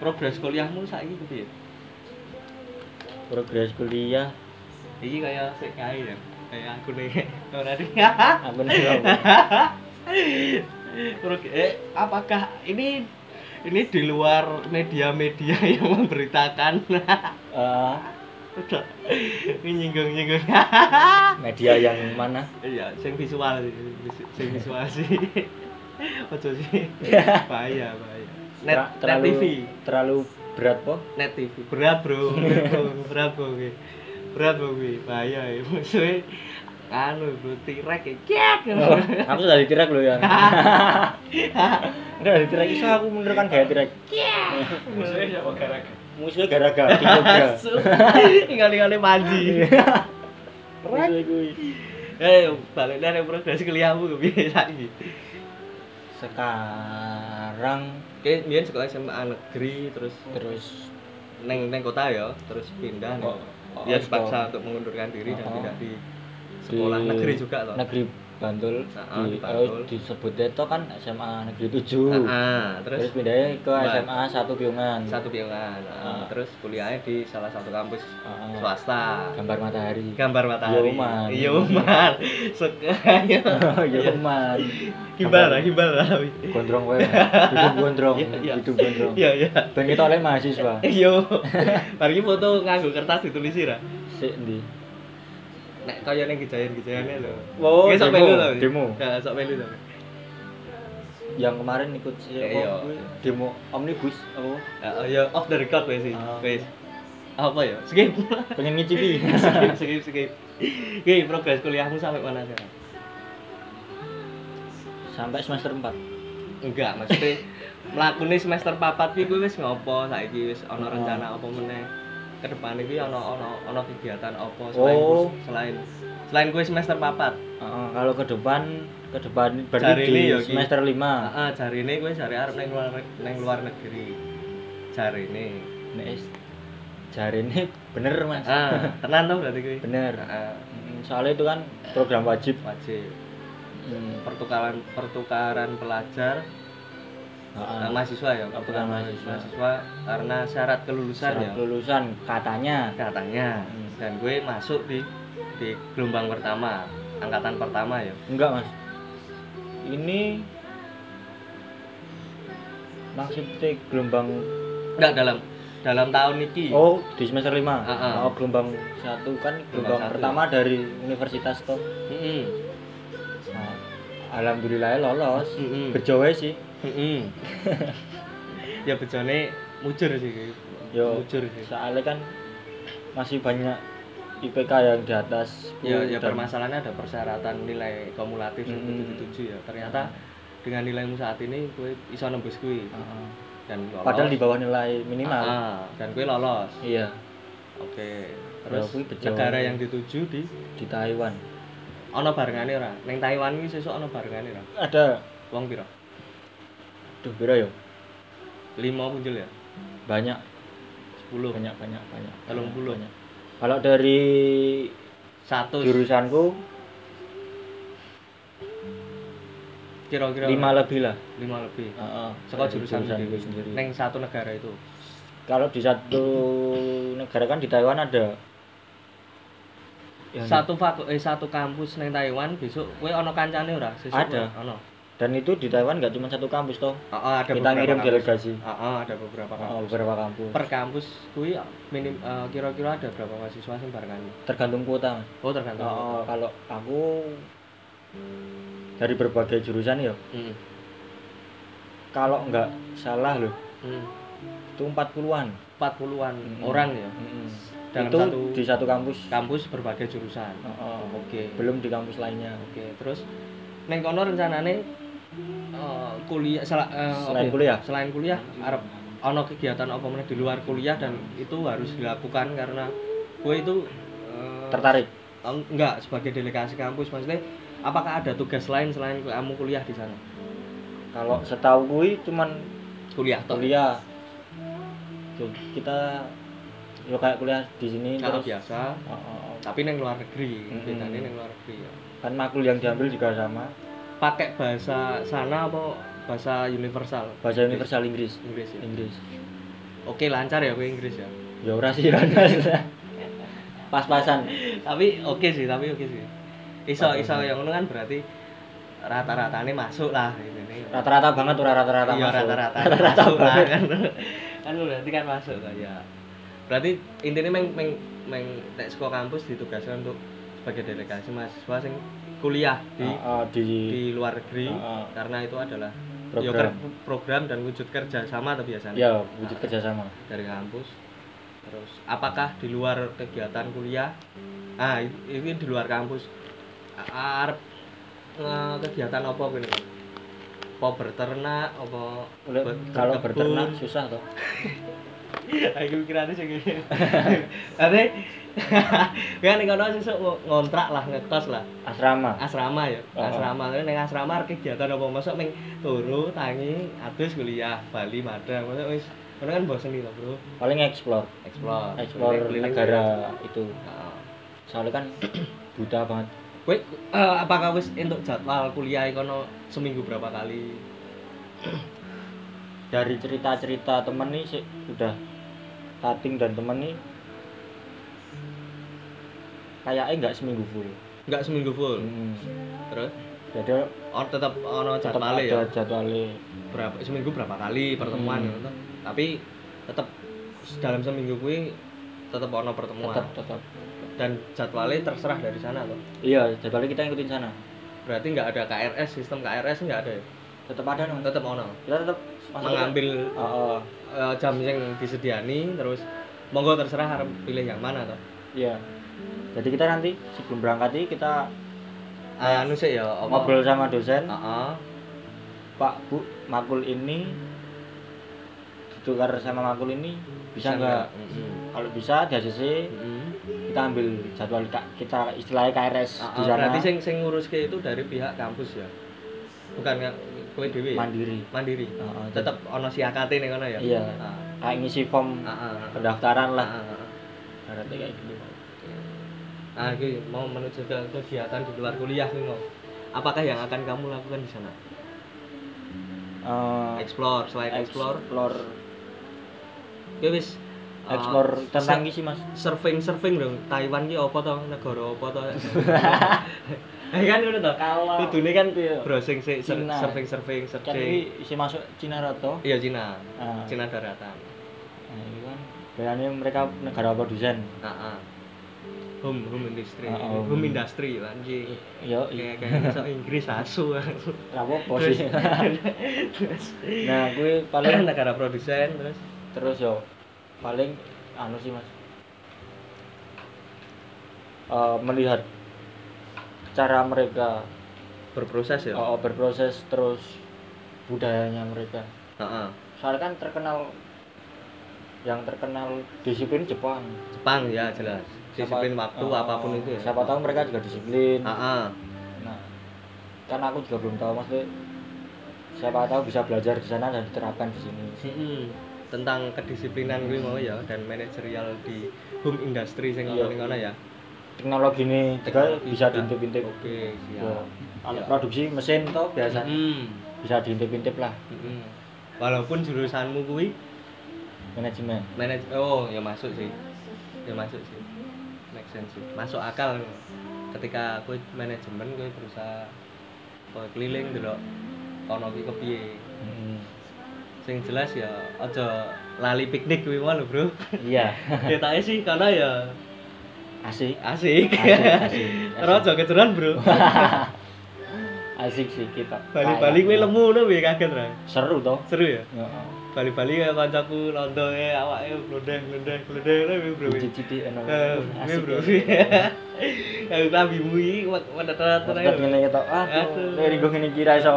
Speaker 1: progres kuliahmu saiki gitu ya? piye?
Speaker 2: progres kuliah
Speaker 1: Iki kaya sik kae ya. Kayak aku nih ora di.
Speaker 2: aku ning kono.
Speaker 1: Terus eh apakah ini ini di luar media-media yang memberitakan
Speaker 2: Eh,
Speaker 1: Udah. ini nyinggung-nyinggung
Speaker 2: media yang mana
Speaker 1: iya sing visual sih Vis- sing visual sih ojo sih bahaya bahaya net,
Speaker 2: Tra-
Speaker 1: net
Speaker 2: terlalu
Speaker 1: TV
Speaker 2: terlalu berat po
Speaker 1: net TV berat bro berat bro berat bro gue berat bro gue bahaya ya maksudnya anu bro tirek ya kek
Speaker 2: Oh, aku sudah ditirak loh ya. Enggak ditirak iso aku menurunkan gaya tirak.
Speaker 3: Maksudnya siapa gara-gara?
Speaker 2: Musuhnya gara-gara tiga.
Speaker 1: asu tinggal tinggal panji
Speaker 2: Iya. Musuhnya gue.
Speaker 1: eh balik dari progres kuliahmu gue biasa lagi
Speaker 2: Sekarang
Speaker 1: oke biar sekolah SMA negeri terus
Speaker 2: terus
Speaker 1: neng neng kota ya terus pindah
Speaker 2: Oh,
Speaker 1: nih
Speaker 2: oh,
Speaker 1: dia
Speaker 2: oh,
Speaker 1: dipaksa
Speaker 2: sekolah.
Speaker 1: untuk mengundurkan diri dan
Speaker 2: Oh.
Speaker 1: pindah di sekolah
Speaker 2: di
Speaker 1: negeri juga toh
Speaker 2: Negeri Bantul.
Speaker 1: Ah,
Speaker 2: di,
Speaker 1: di
Speaker 2: eh,
Speaker 1: Bantul.
Speaker 2: disebutnya itu kan SMA Negeri 7.
Speaker 1: Heeh, Ah, terus
Speaker 2: Terus pindahnya ke
Speaker 1: Ba-
Speaker 2: SMA 1 Piungan.
Speaker 1: satu bilangan Heeh,
Speaker 2: Ah.
Speaker 1: terus kuliahnya di salah satu kampus
Speaker 2: Ah,
Speaker 1: swasta
Speaker 2: gambar matahari.
Speaker 1: gambar matahari Iya,
Speaker 2: Yoman.
Speaker 1: Yoman sukanya Iya.
Speaker 2: ya man.
Speaker 1: gimana gimana tapi
Speaker 2: Gondrong kowe. Mas. Hidup gondrong,
Speaker 1: Iya, iya.
Speaker 2: hidup gondrong.
Speaker 1: iya iya Eh,
Speaker 2: Ben kita oleh mahasiswa.
Speaker 1: yo mari ki foto nganggo kertas ditulis ra
Speaker 2: Sik ndi?
Speaker 1: nek kaya ning gejayan-gejayane lho
Speaker 2: Oh,
Speaker 1: Ki sok
Speaker 2: demo,
Speaker 1: melu tapi.
Speaker 2: demo.
Speaker 1: ya sok melu tapi
Speaker 2: yang kemarin ikut si
Speaker 1: Eh,
Speaker 2: apa,
Speaker 1: iya.
Speaker 2: kuwi, demo omnibus apa
Speaker 1: ya oh, ya off the record wes sih
Speaker 2: Ah.
Speaker 1: wes apa ya skip
Speaker 2: pengen ngicipi
Speaker 1: skip skip skip Oke, progres kuliahmu sampai mana sekarang?
Speaker 2: sampai semester 4
Speaker 1: Enggak, maksudnya melakukan semester papat pi gue wis ngopo saiki wis
Speaker 2: Oh.
Speaker 1: ana rencana apa meneh? ke depan iki ana ana ana kegiatan apa
Speaker 2: Oh.
Speaker 1: selain selain selain kowe semester papat
Speaker 2: Heeh, kalau ke depan ke depan berarti
Speaker 1: Cari
Speaker 2: di
Speaker 1: ini ya, Ki.
Speaker 2: semester 5
Speaker 1: Heeh, jarine kowe jare arep nang luar nang luar negeri. Jarine.
Speaker 2: nek is- jarine bener mas
Speaker 1: Ah, tenan to berarti kowe.
Speaker 2: bener
Speaker 1: Heeh,
Speaker 2: Mm, soalnya itu kan program wajib
Speaker 1: wajib Hmm.
Speaker 2: Mm,
Speaker 1: pertukaran pertukaran pelajar
Speaker 2: heeh.
Speaker 1: eh, mahasiswa ya,
Speaker 2: Pertukaran mahasiswa.
Speaker 1: karena syarat kelulusan
Speaker 2: Syarat
Speaker 1: ya.
Speaker 2: kelulusan katanya
Speaker 1: Katanya
Speaker 2: Hmm.
Speaker 1: dan gue masuk di di gelombang pertama, angkatan pertama ya.
Speaker 2: enggak mas ini maksudnya gelombang
Speaker 1: Enggak dalam dalam tahun iki.
Speaker 2: Oh, di semester 5.
Speaker 1: Iya. Heeh.
Speaker 2: Oh, gelombang satu kan gelombang,
Speaker 1: Gelombang satu.
Speaker 2: pertama dari universitas toh.
Speaker 1: Heeh.
Speaker 2: Nah, alhamdulillah lolos.
Speaker 1: Heeh.
Speaker 2: Bejo wae sih.
Speaker 1: Heeh. Ya bejone mujur sih. gue.
Speaker 2: Yo,
Speaker 1: Mujur sih.
Speaker 2: soalnya kan masih banyak IPK yang di atas.
Speaker 1: ya, ya
Speaker 2: dan-
Speaker 1: permasalahannya ada persyaratan nilai kumulatif
Speaker 2: Mm.
Speaker 1: itu tujuh ya ternyata dengan nilaimu saat ini gue iso nembus gue
Speaker 2: Heeh.
Speaker 1: dan lolos
Speaker 2: Ah. Padahal di bawah nilai minimal.
Speaker 1: Ah, dan gue lolos
Speaker 2: Iya,
Speaker 1: oke terus
Speaker 2: Ya, gue bejo.
Speaker 1: negara yang dituju di
Speaker 2: di Taiwan.
Speaker 1: ono barengane ora ning Taiwan iki sesuk ono barengane ora
Speaker 2: Ada
Speaker 1: wong pira
Speaker 2: duh pira yo?
Speaker 1: lima punjul ya
Speaker 2: Banyak,
Speaker 1: sepuluh
Speaker 2: banyak, banyak, banyak.
Speaker 1: Telung puluh.
Speaker 2: banyak. Kalau dari
Speaker 1: satu
Speaker 2: jurusanku
Speaker 1: kira-kira
Speaker 2: lima Iya. lebih lah.
Speaker 1: lima lebih
Speaker 2: Heeh.
Speaker 1: Saka
Speaker 2: dari
Speaker 1: jurusan
Speaker 2: jurusanku
Speaker 1: sendiri.
Speaker 2: sendiri.
Speaker 1: neng satu negara itu
Speaker 2: kalau di satu negara kan di Taiwan ada Ya,
Speaker 1: satu faku eh satu kampus neng Taiwan besok gue ono kancane ora sesuk
Speaker 2: Ada.
Speaker 1: gue ono
Speaker 2: dan itu di Taiwan nggak cuma satu kampus toh
Speaker 1: Oh, oh, ada
Speaker 2: kita
Speaker 1: beberapa
Speaker 2: ngirim
Speaker 1: kampus.
Speaker 2: delegasi
Speaker 1: Ah, ah, ada beberapa
Speaker 2: Oh,
Speaker 1: kampus.
Speaker 2: beberapa kampus
Speaker 1: per kampus kuwi minim eh, kira-kira ada berapa mahasiswa sing barengan?
Speaker 2: tergantung kuota
Speaker 1: Oh, tergantung.
Speaker 2: Oh, kalau aku dari berbagai jurusan ya
Speaker 1: Hmm.
Speaker 2: kalau nggak salah loh
Speaker 1: Hmm.
Speaker 2: itu 40-an
Speaker 1: 40-an
Speaker 2: Mm-mm.
Speaker 1: orang ya
Speaker 2: Mm-mm.
Speaker 1: dalam
Speaker 2: itu
Speaker 1: satu
Speaker 2: di satu kampus
Speaker 1: kampus berbagai jurusan.
Speaker 2: Oh, oh.
Speaker 1: Oke.
Speaker 2: belum di kampus lainnya
Speaker 1: Oke, terus neng kono rencanane eh, kuliah sel- eh,
Speaker 2: Selain
Speaker 1: apa ya?
Speaker 2: kuliah?
Speaker 1: selain kuliah arep ono kegiatan apa meneh di luar kuliah dan itu harus dilakukan karena gue itu eh,
Speaker 2: tertarik
Speaker 1: Em, enggak sebagai delegasi kampus maksudnya apakah ada tugas lain selain kamu kuliah di sana
Speaker 2: kalau setahu gue cuman
Speaker 1: kuliah toh
Speaker 2: kuliah Tuh, kita ya kayak kuliah di sini terus
Speaker 1: kalau
Speaker 2: Hmm.
Speaker 1: biasa
Speaker 2: Oh, oh, oh.
Speaker 1: tapi neng luar negeri
Speaker 2: Mm-mm.
Speaker 1: bedanya neng luar negeri ya
Speaker 2: kan makul yang diambil juga sama
Speaker 1: pakai bahasa sana apa bahasa universal
Speaker 2: bahasa universal Hmm. Inggris
Speaker 1: Inggris ya
Speaker 2: Inggris
Speaker 1: oke lancar ya gue Inggris ya
Speaker 2: ya ora sih ora pas-pasan
Speaker 1: tapi oke sih tapi oke sih iso
Speaker 2: Oke.
Speaker 1: iso yang ngono kan berarti rata-ratanya masuk lah gitu nih
Speaker 2: rata-rata banget ora rata-rata
Speaker 1: iya,
Speaker 2: masuk.
Speaker 1: rata-rata
Speaker 2: rata-rata
Speaker 1: masuk lah,
Speaker 2: banget
Speaker 1: kan kan berarti kan masuk kan ya berarti intinya meng meng meng tek sekolah kampus ditugaskan untuk sebagai delegasi mahasiswa sing kuliah di
Speaker 2: Ah, ah, di,
Speaker 1: di luar negeri
Speaker 2: Ah, ah.
Speaker 1: karena itu adalah
Speaker 2: Program.
Speaker 1: ya, ker- program dan wujud kerja sama atau biasanya
Speaker 2: ya wujud kerjasama
Speaker 1: dari kampus terus apakah di luar kegiatan kuliah ah i- ini di luar kampus A- arep eh, kegiatan apa gini Bang? apa berternak apa
Speaker 2: Oleh-
Speaker 1: ber-
Speaker 2: kalau
Speaker 1: berkebun?
Speaker 2: berternak susah toh
Speaker 1: aku kirane sing ngene ate kan ning kono sesuk ngo- ngontrak lah ngekos lah
Speaker 2: asrama
Speaker 1: asrama ya
Speaker 2: Oh.
Speaker 1: asrama terus ning asrama arep kegiatan apa masuk ning turu tangi adus kuliah Bali Madang maksud wis ngono kan bosen iki lho bro
Speaker 2: paling explore
Speaker 1: explore
Speaker 2: explore
Speaker 1: Keliling-keliling.
Speaker 2: negara itu
Speaker 1: Heeh.
Speaker 2: soalnya kan buta banget
Speaker 1: Kowe eh, apakah wis entuk jadwal kuliah kono seminggu berapa kali?
Speaker 2: dari cerita-cerita temen nih sih udah cutting dan temen nih kayaknya nggak seminggu full
Speaker 1: Enggak seminggu full.
Speaker 2: Hmm.
Speaker 1: Terus
Speaker 2: jadi
Speaker 1: oh, tetap ono
Speaker 2: tetap
Speaker 1: jadwalnya ya.
Speaker 2: ada jadwalnya
Speaker 1: Berapa seminggu berapa kali pertemuan
Speaker 2: Hmm.
Speaker 1: gitu. Tapi tetap dalam seminggu kuwi tetap ono pertemuan
Speaker 2: tetap tetap
Speaker 1: dan jadwalnya terserah dari sana loh.
Speaker 2: iya jadwalnya kita ngikutin sana
Speaker 1: Berarti nggak ada KRS, sistem KRS nggak ada ya.
Speaker 2: tetap ada dong
Speaker 1: Tetap ono.
Speaker 2: kita tetap
Speaker 1: Mengambil
Speaker 2: oh, oh.
Speaker 1: eh, jam yang disediani terus monggo terserah harus pilih yang mana toh.
Speaker 2: iya jadi kita nanti sebelum berangkat nih kita
Speaker 1: Ah, anu sih ya apa-
Speaker 2: ngobrol sama dosen
Speaker 1: Heeh.
Speaker 2: pak bu makul ini ditukar sama makul ini bisa nggak
Speaker 1: Mm-mm.
Speaker 2: kalau bisa di ACC kita ambil jadwal K- kita istilahnya KRS
Speaker 1: Ah,
Speaker 2: di
Speaker 1: ah,
Speaker 2: sana
Speaker 1: berarti sing sing nguruske itu dari pihak kampus ya. Bukan nga- kowe dhewe. ya?
Speaker 2: mandiri
Speaker 1: Mandiri.
Speaker 2: Ah, ah,
Speaker 1: Tetep ono siakate ning ngono ya.
Speaker 2: Iya.
Speaker 1: Ah,
Speaker 2: kayak ngisi form
Speaker 1: ah, ah, ah.
Speaker 2: pendaftaran lah
Speaker 1: Ah, ah, ah.
Speaker 2: Ibaratnya kayak gitu
Speaker 1: Nah, gue mau menuju ke kegiatan di luar kuliah gue mau. Apakah yang akan kamu lakukan di sana?
Speaker 2: Eh,
Speaker 1: Explore, selain explore,
Speaker 2: explore
Speaker 1: gue wis uh,
Speaker 2: explore tentang
Speaker 1: sur-
Speaker 2: ngisi mas
Speaker 1: surfing surfing dong. Taiwan ki apa to? Negara apa to? Eh kan ngono to.
Speaker 2: kalau itu
Speaker 1: Kudune
Speaker 2: kan
Speaker 1: kan browsing sih sur-
Speaker 2: Cina.
Speaker 1: surfing surfing
Speaker 2: kan
Speaker 1: searching.
Speaker 2: ini isi masuk Cina Roto
Speaker 1: Iya Cina.
Speaker 2: Ah.
Speaker 1: Cina daratan.
Speaker 2: nah, itu kan biasanya mereka negara produsen
Speaker 1: Heeh. Home home industry.
Speaker 2: Ah, ah,
Speaker 1: Home
Speaker 2: home. Iya.
Speaker 1: industry anjing.
Speaker 2: yo
Speaker 1: Kayak kayak so Inggris asu. Iya.
Speaker 2: apa posisi nah gue paling
Speaker 1: Paling negara produsen terus
Speaker 2: terus yo paling anu sih mas Eh, melihat cara mereka
Speaker 1: berproses ya.
Speaker 2: eh, berproses terus budayanya mereka
Speaker 1: Heeh.
Speaker 2: soalnya kan terkenal yang terkenal disiplin Jepang
Speaker 1: Jepang ya jelas. Disiplin
Speaker 2: Siapa-
Speaker 1: waktu
Speaker 2: eh,
Speaker 1: apapun itu ya. Ah,
Speaker 2: siapa tahu mereka juga disiplin
Speaker 1: Heeh.
Speaker 2: nah kan aku juga belum tahu maksudnya siapa tahu bisa belajar di sana dan diterapkan di sini
Speaker 1: Mm-mm. tentang kedisiplinan gue mau ya dan manajerial di home industry sing
Speaker 2: Iya.
Speaker 1: ngono ngono ya.
Speaker 2: teknologi ini juga
Speaker 1: Teknologi
Speaker 2: bisa
Speaker 1: juga.
Speaker 2: diintip-intip Ya,
Speaker 1: Oke, siap.
Speaker 2: kalau
Speaker 1: Ya.
Speaker 2: produksi mesin toh biasa
Speaker 1: Mm.
Speaker 2: bisa diintip-intip lah
Speaker 1: Mm-mm. Walaupun jurusanmu kuwi
Speaker 2: manajemen
Speaker 1: manaj oh ya masuk sih. Ya masuk sih. Make sense sih. Masuk akal ketika gue manajemen gue berusaha kowe keliling dulu ono ki kepiye Hmm. sing jelas ya aja lali piknik kuwi mau lho bro
Speaker 2: iya
Speaker 1: ketake sih karena ya
Speaker 2: asik
Speaker 1: asik
Speaker 2: asik asik
Speaker 1: terus aja kejeran bro
Speaker 2: asik sih kita
Speaker 1: Bali-bali gue lemu no piye kaget ra.
Speaker 2: seru toh
Speaker 1: Seru ya.
Speaker 2: ya
Speaker 1: Bali-bali kaya kancaku lontone awake blondeh blondeh blondeh lho piye bro.
Speaker 2: cici enak
Speaker 1: Eh, piye
Speaker 2: asik
Speaker 1: bro.
Speaker 2: ya.
Speaker 1: Kayak tabimu iki wedet-wedet
Speaker 2: Tetep ngene kita
Speaker 1: Aduh.
Speaker 2: aduh dari gue ngene kira iso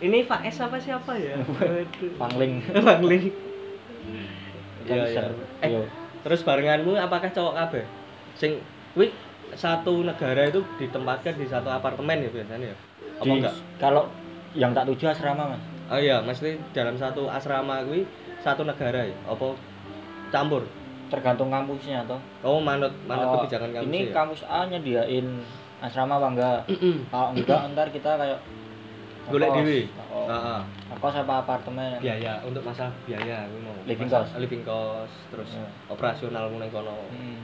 Speaker 1: Ini Pak S apa siapa ya? Waduh.
Speaker 2: pangling
Speaker 1: Bang Ling.
Speaker 2: Kan
Speaker 1: Iya, iya.
Speaker 2: seru.
Speaker 1: Eh,
Speaker 2: Yo.
Speaker 1: Terus barenganmu apakah cowok kabeh? Sing kuwi satu negara itu ditempatkan di satu apartemen ya biasanya ya? Apa
Speaker 2: Di-
Speaker 1: enggak?
Speaker 2: kalau yang tak tuju asrama mas
Speaker 1: Oh iya, maksudnya dalam satu asrama kuwi satu negara ya? Apa campur?
Speaker 2: tergantung kampusnya toh
Speaker 1: Oh, manut manut
Speaker 2: Kalau
Speaker 1: kebijakan kamu
Speaker 2: ini
Speaker 1: sih. Ya?
Speaker 2: kampus A nyediain asrama apa enggak kalau enggak ntar kita kayak
Speaker 1: Golek
Speaker 2: ngekos.
Speaker 1: dhewe. Ah. Iya.
Speaker 2: Oh,
Speaker 1: Heeh.
Speaker 2: ngekos apa apartemen
Speaker 1: biaya untuk masalah biaya aku mau.
Speaker 2: Living
Speaker 1: Masalah
Speaker 2: cost.
Speaker 1: Living cost terus
Speaker 2: Iya.
Speaker 1: operasionalmu ning kono.
Speaker 2: Hmm.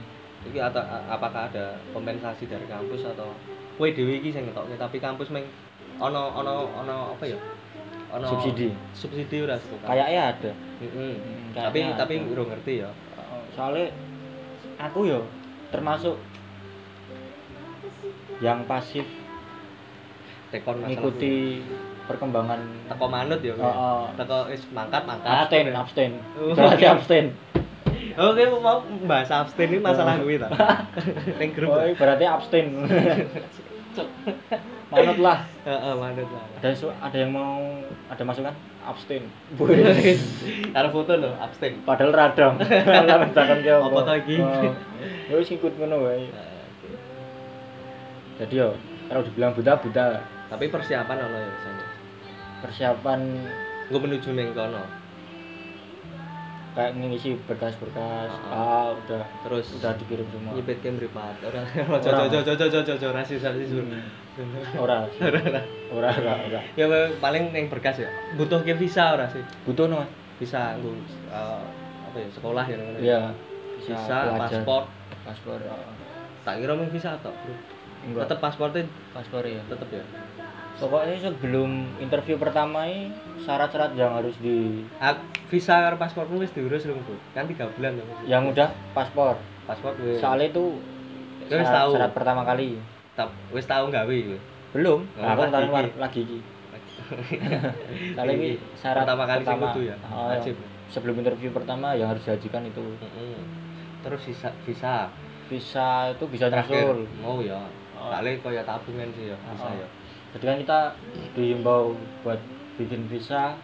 Speaker 1: Iki atau apakah ada kompensasi dari kampus atau kowe dhewe iki sing ngetokke tapi kampus meng ono ono ono apa ya? Ono
Speaker 2: Subsidi.
Speaker 1: Subsidi ora sih, Kak?
Speaker 2: kayaknya ada
Speaker 1: Mm-mm.
Speaker 2: Hmm,
Speaker 1: Tapi
Speaker 2: kayaknya
Speaker 1: tapi
Speaker 2: ada.
Speaker 1: urung ngerti ya.
Speaker 2: Oh, soalnya aku yo termasuk yang pasif
Speaker 1: Tekon masalah.
Speaker 2: mengikuti perkembangan
Speaker 1: kuwi. teko manut ya.
Speaker 2: Oh,
Speaker 1: kuwi.
Speaker 2: Ah, oh.
Speaker 1: Teko wis mangkat mangkat.
Speaker 2: abstain abstain
Speaker 1: Oh.
Speaker 2: berarti abstain
Speaker 1: Oke, mau bahas abstain ini masalah gue ta. Ning grup.
Speaker 2: oh, berarti abstain manut lah
Speaker 1: Heeh, manut lah.
Speaker 2: ada su- ada yang mau ada masukan abstain
Speaker 1: Taruh foto lo, abstain.
Speaker 2: padahal radang padahal radang ki
Speaker 1: Apa to iki?
Speaker 2: Oh. ya wis ikut ngono wae jadi yo kalau dibilang buta buta
Speaker 1: Tapi persiapan ono ya biasanya.
Speaker 2: persiapan
Speaker 1: Gue menuju neng kono.
Speaker 2: kayak ngisi berkas-berkas
Speaker 1: Ah.
Speaker 2: ah Iya, udah
Speaker 1: Terus
Speaker 2: udah dikirim semua
Speaker 1: nyipit kan beripat. Ora ojo ojo ojo ojo ojo ojo rasis rasis.
Speaker 2: ora ora ora ora
Speaker 1: Ya paling neng berkas ya. Butuh ke visa ora sih?
Speaker 2: butuh no Mas?
Speaker 1: Visa gue apa ya sekolah ya ngono.
Speaker 2: iya
Speaker 1: Visa,
Speaker 2: pelajar.
Speaker 1: paspor.
Speaker 2: paspor oh.
Speaker 1: Tak kira mung visa tok.
Speaker 2: enggak
Speaker 1: Tetep pasportnya
Speaker 2: paspor ya
Speaker 1: tetep ya.
Speaker 2: pokoknya sebelum interview pertama ini syarat-syarat yang harus di
Speaker 1: Ah, visa karo paspormu wis diurus lho, Bu. Kan 3 bulan lho.
Speaker 2: yang udah paspor
Speaker 1: paspor gue.
Speaker 2: soalnya itu
Speaker 1: Lu wis
Speaker 2: syarat-
Speaker 1: tahu.
Speaker 2: syarat pertama kali
Speaker 1: Tap, wis tau gawe gue.
Speaker 2: belum
Speaker 1: Oh,
Speaker 2: nah, aku
Speaker 1: lagi
Speaker 2: ntar
Speaker 1: iki.
Speaker 2: luar- lagi iki kali ini syarat
Speaker 1: pertama kali sing
Speaker 2: pertama.
Speaker 1: kudu ya.
Speaker 2: Oh,
Speaker 1: Wajib.
Speaker 2: yang sebelum interview pertama yang harus diajukan itu
Speaker 1: Mm-mm. Terus visa visa
Speaker 2: visa itu bisa
Speaker 1: terakhir
Speaker 2: nyusul
Speaker 1: mau ya.
Speaker 2: Oh.
Speaker 1: Kali kaya tabungan sih ya visa
Speaker 2: Oh.
Speaker 1: ya.
Speaker 2: jadi kan kita dihimbau buat bikin visa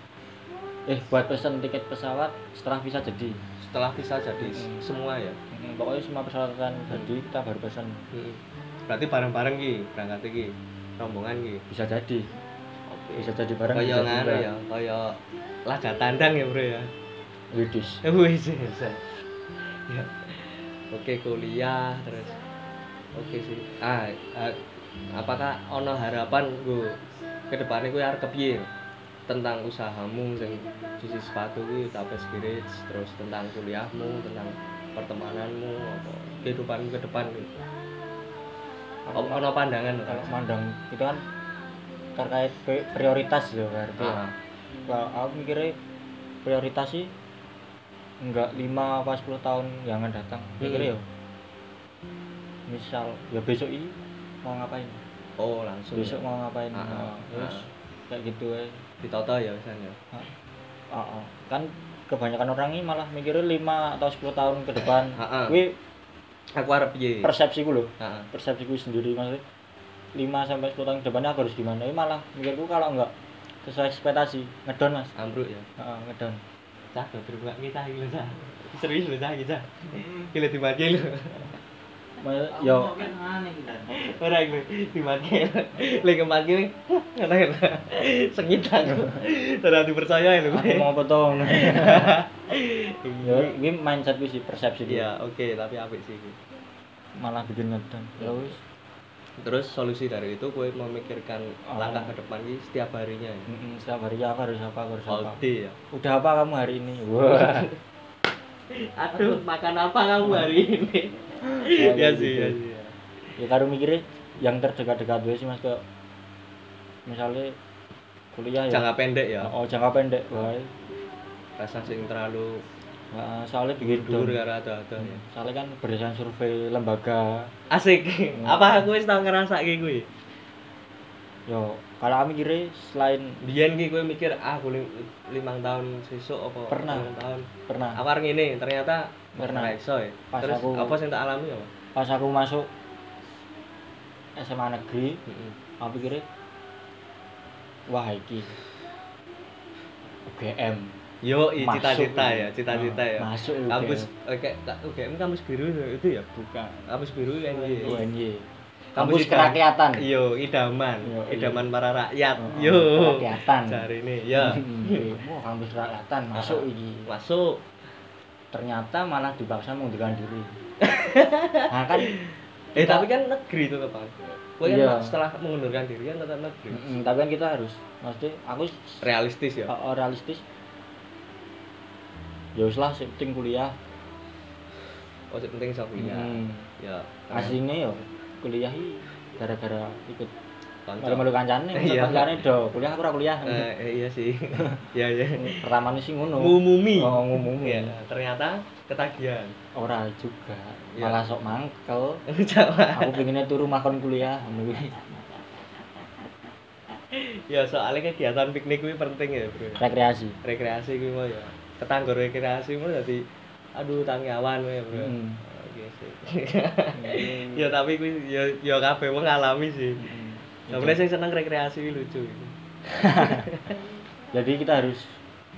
Speaker 2: eh buat pesan tiket pesawat setelah visa jadi
Speaker 1: telah pisah jadi s-
Speaker 2: Hmm.
Speaker 1: semua ya
Speaker 2: Hmm, pokoknya semua persyaratan jadi kita baru pesan
Speaker 1: berarti bareng-bareng ki berangkat ki rombongan ki
Speaker 2: bisa jadi
Speaker 1: oke
Speaker 2: bisa jadi bareng
Speaker 1: kaya
Speaker 2: bisa
Speaker 1: ngare
Speaker 2: juga.
Speaker 1: ya kaya laga tandang ya bro ya
Speaker 2: Widis.
Speaker 1: Wih, bisa. Ya. Oke, kuliah terus. Oke sih. Ah, ah, apakah ono harapan gue ke depannya gue harus kepiye tentang usahamu sing sisi sepatu gue tapi spirit terus tentang kuliahmu tentang pertemananmu apa kehidupanmu ke depan gitu.
Speaker 2: Kalau-
Speaker 1: ono pandangan
Speaker 2: kalau mandang itu kan terkait pri- prioritas ya berarti
Speaker 1: Ah,
Speaker 2: kalau aku mikirnya prioritas sih enggak 5 apa 10 tahun jangan datang
Speaker 1: Hmm.
Speaker 2: mikirnya ya misal ya besok ini mau ngapain
Speaker 1: oh langsung
Speaker 2: besok
Speaker 1: ya.
Speaker 2: mau ngapain
Speaker 1: Ah,
Speaker 2: Nah,
Speaker 1: ah,
Speaker 2: terus
Speaker 1: ah.
Speaker 2: kayak gitu ya
Speaker 1: ditoto ya misalnya
Speaker 2: kan kebanyakan orang ini malah mikirnya 5 atau 10 tahun ke depan
Speaker 1: Ah, Iya. ah.
Speaker 2: kuwi
Speaker 1: aku harap piye Ah,
Speaker 2: persepsiku loh
Speaker 1: Heeh.
Speaker 2: persepsiku sendiri maksudnya 5 sampai 10 tahun ke depannya aku harus gimana ini malah mikirku kalau enggak sesuai ekspektasi ngedon mas
Speaker 1: ambruk ya
Speaker 2: Heeh, ngedon
Speaker 1: cah gak berbuka kita gitu cah serius lo cah kita gila dimati lo
Speaker 2: Mas- yo
Speaker 1: ora iku dimati lek kemati ini ngono ya sengit aku terlalu dipercaya lho
Speaker 2: aku mau potong yo ini mindsetku sih persepsi
Speaker 1: iya
Speaker 2: dia
Speaker 1: oke tapi apik sih gitu. iki.
Speaker 2: malah bikin ngedon Ya terus
Speaker 1: terus solusi dari itu gue memikirkan
Speaker 2: Oh.
Speaker 1: langkah ke depan ini setiap harinya ya
Speaker 2: mm, setiap hari aku harus apa aku harus apa
Speaker 1: all day ya
Speaker 2: udah apa kamu hari ini wah
Speaker 1: aduh makan apa kamu hari ini ya
Speaker 2: Kayak
Speaker 1: sih
Speaker 2: gitu.
Speaker 1: ya sih ya.
Speaker 2: ya karo mikirnya yang terdekat-dekat gue sih mas ke misalnya kuliah ya
Speaker 1: jangka pendek ya
Speaker 2: oh jangka pendek wae
Speaker 1: rasa sing terlalu
Speaker 2: Nah, soalnya bikin
Speaker 1: dur
Speaker 2: down.
Speaker 1: karena ada-ada ya
Speaker 2: soalnya kan berdasarkan survei lembaga
Speaker 1: asik apa aku wis tau ngerasa kayak gue
Speaker 2: yo kalau aku mikirnya selain
Speaker 1: Biyen ki kowe mikir ah aku lim- limang tahun sesuk apa
Speaker 2: Pernah.
Speaker 1: limang tahun.
Speaker 2: pernah
Speaker 1: Aku arep ngene, ternyata
Speaker 2: Pernah.
Speaker 1: ora iso ya.
Speaker 2: Pas
Speaker 1: Terus
Speaker 2: aku-
Speaker 1: apa sing tak alami ya? Mas?
Speaker 2: pas aku masuk SMA negeri
Speaker 1: Heeh.
Speaker 2: aku pikirnya wah iki UGM
Speaker 1: Yo, i-
Speaker 2: Masuk
Speaker 1: cita-cita
Speaker 2: ini.
Speaker 1: ya, cita-cita ya.
Speaker 2: masuk
Speaker 1: Kampus eh,
Speaker 2: UGM.
Speaker 1: oke, ta- UGM oh, kampus biru itu ya, Bu.
Speaker 2: bukan
Speaker 1: Kampus biru kan iya.
Speaker 2: UNY Oh,
Speaker 1: Kampus Iya.
Speaker 2: kampus
Speaker 1: idam-
Speaker 2: kerakyatan
Speaker 1: Yo, idaman,
Speaker 2: Yo, iya.
Speaker 1: idaman para rakyat.
Speaker 2: Oh,
Speaker 1: Yo.
Speaker 2: kerakyatan.
Speaker 1: Cari ini, ya.
Speaker 2: Hmm, Wah, kampus kerakyatan masuk iki
Speaker 1: Masuk.
Speaker 2: ternyata malah dipaksa mengundurkan diri nah kan
Speaker 1: Eh,
Speaker 2: Kita-
Speaker 1: tapi kan negeri itu Pak. Kowe
Speaker 2: Iya.
Speaker 1: kan setelah mengundurkan diri kan tetap negeri.
Speaker 2: mm, tapi kan kita harus maksudnya aku s-
Speaker 1: Realistis ya.
Speaker 2: o- realistis ya wis lah sing penting kuliah
Speaker 1: Oh, sing penting iso kuliah.
Speaker 2: Mm.
Speaker 1: Ya.
Speaker 2: aslinya yo kuliah i gara-gara ikut
Speaker 1: kanca.
Speaker 2: malu-malu kancane
Speaker 1: Iya.
Speaker 2: kancane do kuliah aku ora kuliah
Speaker 1: Eh, eh, iya sih. Iya, iya.
Speaker 2: pertama sih ngono
Speaker 1: Ngumumi.
Speaker 2: oh ngumum
Speaker 1: Ya, ternyata ketagihan.
Speaker 2: ora juga
Speaker 1: Iya.
Speaker 2: malah sok mangkel
Speaker 1: Jawa.
Speaker 2: aku pengennya turu makan kuliah ngono kuwi.
Speaker 1: ya soalnya kegiatan piknik kuwi penting ya, Bro.
Speaker 2: rekreasi
Speaker 1: Rekreasi kuwi mau ya. Ketanggur rekreasi mau jadi aduh tanggawan kuwi ya, Bro.
Speaker 2: Hmm.
Speaker 1: Oke sih. ya tapi kuwi ya ya kabeh wong ngalami sih.
Speaker 2: Mm.
Speaker 1: Tapi sing seneng rekreasi kuwi lucu.
Speaker 2: jadi kita harus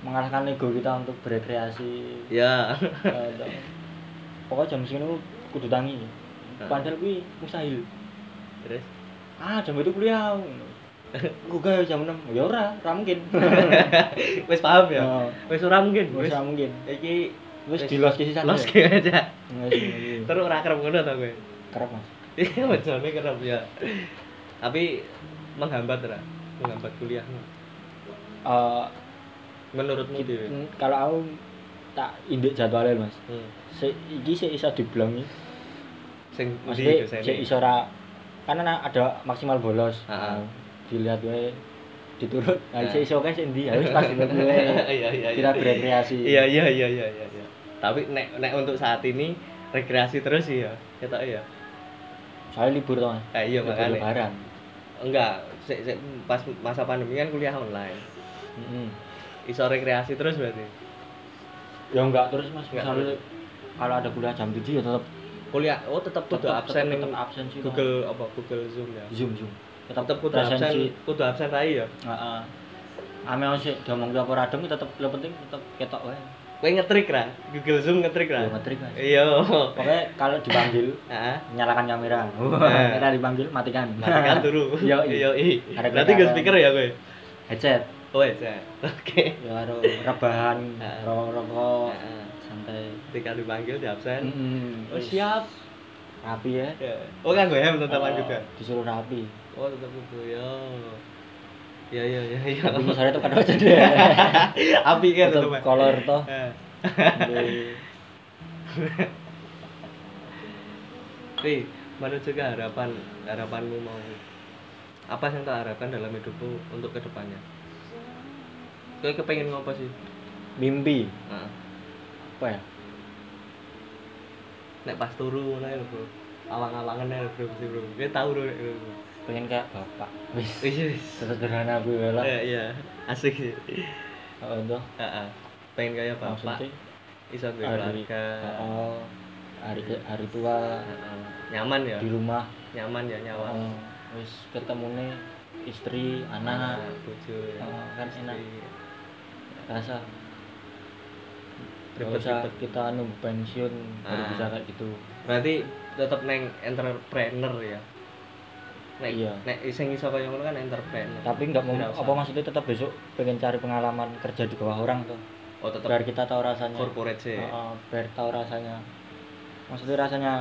Speaker 2: mengalahkan ego kita untuk berekreasi
Speaker 1: Ya.
Speaker 2: Eh, dan- pokoknya jam segini aku kudu tangi padahal gue mustahil
Speaker 1: Terus
Speaker 2: ah jam itu kuliah gue gak jam 6 ya ora ora mungkin
Speaker 1: wis paham ya?
Speaker 2: Oh.
Speaker 1: Wis ora mungkin, wis.
Speaker 2: ora mungkin
Speaker 1: Iki
Speaker 2: terus di los kisi sana
Speaker 1: los aja.
Speaker 2: terus
Speaker 1: Terus ora kerem ngono ta kowe?
Speaker 2: kerap mas
Speaker 1: Iya, bojone kerap ya. Tapi menghambat ora? Menghambat kuliahmu.
Speaker 2: Eh,
Speaker 1: Menurutmu dhewe.
Speaker 2: mm, kalau aku tak indek jadwalnya mas
Speaker 1: Hmm.
Speaker 2: se iki se iso dibelangi
Speaker 1: Sing di
Speaker 2: maksudnya se
Speaker 1: dosene.
Speaker 2: iso ora karena ada maksimal bolos
Speaker 1: Ah.
Speaker 2: Nah, dilihat gue diturut nah
Speaker 1: Nah.
Speaker 2: se iso kae se ndi harus pas diturut gue
Speaker 1: Iya, iya, iya.
Speaker 2: kita berekreasi
Speaker 1: Iya, iya, iya, iya, iya, iya. Tapi nek nek untuk saat ini rekreasi terus sih ya. Ketok ya.
Speaker 2: saya libur toh Mas.
Speaker 1: Ah, iya,
Speaker 2: Libur
Speaker 1: makanya.
Speaker 2: lebaran
Speaker 1: Enggak, sik- sik, pas masa pandemi kan kuliah online. Hmm.
Speaker 2: Mm-mm.
Speaker 1: Iso rekreasi terus berarti.
Speaker 2: ya enggak terus mas
Speaker 1: Enggak
Speaker 2: misalnya kalau ada kuliah jam 7 ya tetap
Speaker 1: Kuliah oh tetap kudu absen ning
Speaker 2: tetap absen sih Mas.
Speaker 1: Google apa Google Zoom ya.
Speaker 2: zoom zoom tetap
Speaker 1: Tetap kudu
Speaker 2: absen sih
Speaker 1: absen, kudu absen rai ya.
Speaker 2: heeh ame sih diomong apa radeng tetap yang penting tetap ketok wae
Speaker 1: Kowe Kowe ngetrik ra? Google Zoom ngetrik
Speaker 2: Ya,
Speaker 1: ra?
Speaker 2: ngetrik, Mas.
Speaker 1: Iya.
Speaker 2: Pokoknya kalau dipanggil
Speaker 1: Heeh.
Speaker 2: nyalakan kamera.
Speaker 1: Wah.
Speaker 2: kamera dipanggil matikan.
Speaker 1: Iya. Matikan turu.
Speaker 2: Yo,
Speaker 1: Yo, i.
Speaker 2: Ada
Speaker 1: Nanti gue
Speaker 2: gerakan.
Speaker 1: speaker ya kowe.
Speaker 2: Headset.
Speaker 1: Oh, iya. Oke.
Speaker 2: Ya karo rebahan,
Speaker 1: Heeh.
Speaker 2: rokok-rokok,
Speaker 1: Heeh.
Speaker 2: santai. Hmm.
Speaker 1: Ketika dipanggil di absen.
Speaker 2: Mm-mm.
Speaker 1: Iya. Oh, siap.
Speaker 2: Rapi ya.
Speaker 1: Ya. Oh, kan gue hem
Speaker 2: Oh,
Speaker 1: tetapan juga.
Speaker 2: Disuruh rapi.
Speaker 1: Oh, tetap kudu ya. Ya ya ya ya.
Speaker 2: Tapi sore tuh kadang aja
Speaker 1: Api kan
Speaker 2: Tetep
Speaker 1: tetapan.
Speaker 2: kolor toh.
Speaker 1: Eh. Ri, menuju ke harapan harapanmu mau apa yang kau harapkan dalam hidupmu untuk kedepannya? Kau kepengen ngapa sih?
Speaker 2: Mimpi
Speaker 1: Nah,
Speaker 2: apa ya?
Speaker 1: nek pas turu ngono ya bro. Awang-awangan ya bro sih bro. Kau tahu bro. nek ngono.
Speaker 2: Pengen kayak bapak. Wis.
Speaker 1: Wis wis.
Speaker 2: Sederhana gue lah.
Speaker 1: Iya iya. Asik sih.
Speaker 2: Oh, itu.
Speaker 1: Heeh. Pengen kaya bapak,
Speaker 2: Maksudnya Ah,
Speaker 1: iso duwe
Speaker 2: hari,
Speaker 1: keluarga. Iya.
Speaker 2: oh, hari ke- hari tua
Speaker 1: Heeh. Nyaman ya,
Speaker 2: di rumah
Speaker 1: nyaman ya nyaman.
Speaker 2: oh, wis ketemune istri anak
Speaker 1: Nah, bojo ya.
Speaker 2: oh, kan enak
Speaker 1: Iya.
Speaker 2: rasa Gak
Speaker 1: Ribet,
Speaker 2: usah
Speaker 1: ribet.
Speaker 2: kita nunggu pensiun baru
Speaker 1: Ah.
Speaker 2: bisa kayak gitu
Speaker 1: berarti tetap neng entrepreneur ya nek
Speaker 2: Iya.
Speaker 1: nek sing iso kaya ngono kan entrepreneur
Speaker 2: tapi nggak mau
Speaker 1: Wira usaha.
Speaker 2: apa maksudnya tetap besok pengen cari pengalaman kerja di bawah orang tuh
Speaker 1: oh tetap
Speaker 2: biar kita tahu rasanya
Speaker 1: corporate sih
Speaker 2: Oh, oh, biar tahu rasanya maksudnya rasanya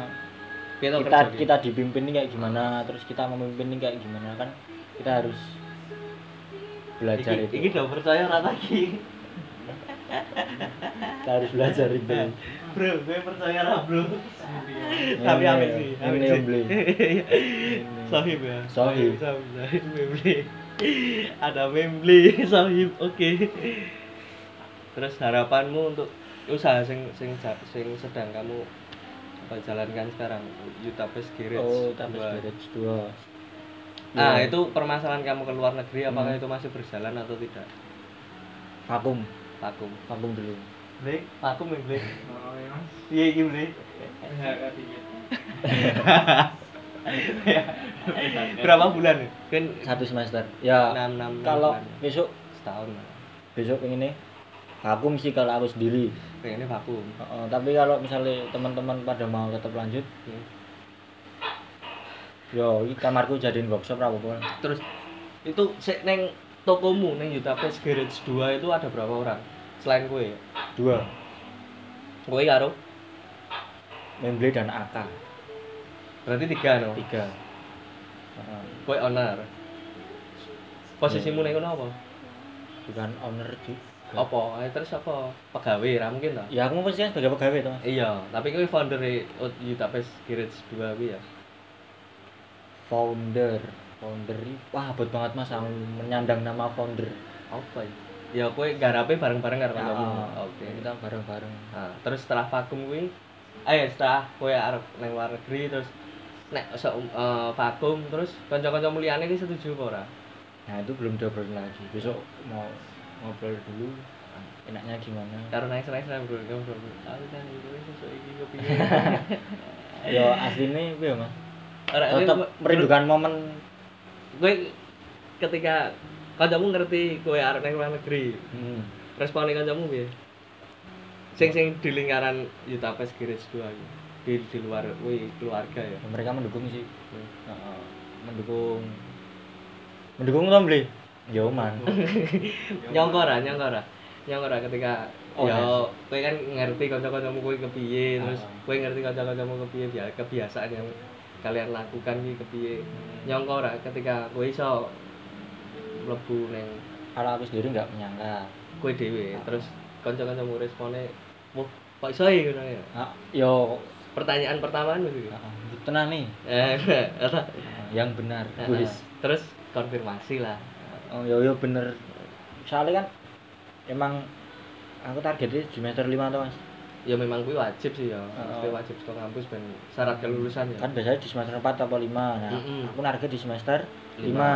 Speaker 1: kita gitu.
Speaker 2: kita kita dipimpin ini kayak gimana terus kita memimpin ini kayak gimana kan kita harus belajar
Speaker 1: iki,
Speaker 2: itu
Speaker 1: iki udah percaya rata iki
Speaker 2: kita harus belajar itu
Speaker 1: bro gue percaya ra bro
Speaker 2: Ini
Speaker 1: tapi
Speaker 2: yang-
Speaker 1: apa sih
Speaker 2: Iya. ini
Speaker 1: Ambil
Speaker 2: yang
Speaker 1: sih.
Speaker 2: beli
Speaker 1: sahib ya
Speaker 2: Sahib.
Speaker 1: sahib sahib membeli ada membeli sahib oke terus harapanmu untuk usaha sing sing ja- sing sedang kamu apa jalankan sekarang Utapes Garage
Speaker 2: oh tapi
Speaker 1: dua.
Speaker 2: garage dua
Speaker 1: Nah,
Speaker 2: Ya,
Speaker 1: itu permasalahan kamu ke luar negeri apakah
Speaker 2: Hmm.
Speaker 1: itu masih berjalan atau tidak?
Speaker 2: vakum
Speaker 1: Vakum.
Speaker 2: vakum dulu
Speaker 1: Blek, vakum ya, Blek. Iya, iki Blek. Berapa bulan? ya? Kan
Speaker 2: satu semester ya
Speaker 1: 6 6
Speaker 2: kalau besok
Speaker 1: setahun. lah.
Speaker 2: besok pengen vakum sih kalau aku sendiri
Speaker 1: Pengennya vakum.
Speaker 2: Heeh, tapi kalau misalnya teman-teman pada mau tetap lanjut
Speaker 1: Hmm.
Speaker 2: yo ini kamarku jadiin workshop apa apa
Speaker 1: Terus itu sik neng tokomu neng Utapes Garage 2 itu ada berapa orang? Selain gue ya?
Speaker 2: dua
Speaker 1: Gue karo.
Speaker 2: memble dan AK
Speaker 1: Berarti tiga no.
Speaker 2: tiga Heeh.
Speaker 1: Gue owner. Posisimu neng kono apa?
Speaker 2: bukan owner juga
Speaker 1: apa Eh, terus apa pegawai ra mungkin ta
Speaker 2: ya aku mesti kan sebagai pegawai tuh mas
Speaker 1: iya tapi kowe founder e Utapes Garage 2 kuwi ya
Speaker 2: founder founder i- wah abot banget mas aku menyandang nama founder Nah,
Speaker 1: apa ya ya kowe garape bareng-bareng karo kancamu Iya, oke
Speaker 2: kita bareng bareng
Speaker 1: nah, terus setelah vakum kuwi eh setelah kowe arep nang luar negeri terus nek iso eh, vakum terus kanca-kancamu liyane iki setuju apa ora
Speaker 2: nah itu belum diobrolin lagi besok mau ngobrol dulu enaknya gimana
Speaker 1: karo naik naik naik bro kamu bro aku kan iki wis sesuk iki kepiye
Speaker 2: ya aslinya gue mas
Speaker 1: ora kowe-
Speaker 2: tetap merindukan momen
Speaker 1: kowe ketika kancamu ngerti kowe arep nang luar negeri
Speaker 2: hmm.
Speaker 1: responnya kancamu piye? Sing sing di lingkaran Yutapes Garage 2 iki. Di di luar kuwi keluarga ya.
Speaker 2: Ya, mereka mendukung sih Heeh. mendukung mendukung tuh beli ya man
Speaker 1: Nyongko ora, nyongko ora. Nyongko ora ketika
Speaker 2: Oh,
Speaker 1: ya
Speaker 2: iya.
Speaker 1: kowe kan ngerti kanca-kancamu kowe kepiye, terus
Speaker 2: Ah.
Speaker 1: kowe ngerti kanca-kancamu kepiye biar kebiasaan yang kalian lakukan iki kepiye.
Speaker 2: Hmm.
Speaker 1: Nyongko ora ketika kowe iso mlebu ning
Speaker 2: kalau aku sendiri nggak menyangka
Speaker 1: kowe dhewe,
Speaker 2: Ah.
Speaker 1: terus kanca-kancamu responnya, "Wah, kok iso ya?" ngono ya.
Speaker 2: ah, yo
Speaker 1: Pertanyaan pertama itu.
Speaker 2: ah, tenang nih
Speaker 1: Eh,
Speaker 2: Ah,
Speaker 1: ora.
Speaker 2: yang benar
Speaker 1: Heeh.
Speaker 2: wis
Speaker 1: terus konfirmasi lah
Speaker 2: oh yo yo bener soalnya kan emang aku targetnya di semester lima tuh mas
Speaker 1: ya memang kuwi wajib sih ya mesti
Speaker 2: Heeh.
Speaker 1: wajib ke kampus ben syarat kelulusan ya
Speaker 2: kan biasanya di semester empat atau lima nah
Speaker 1: Mm-mm.
Speaker 2: aku target di semester
Speaker 1: Lima.
Speaker 2: lima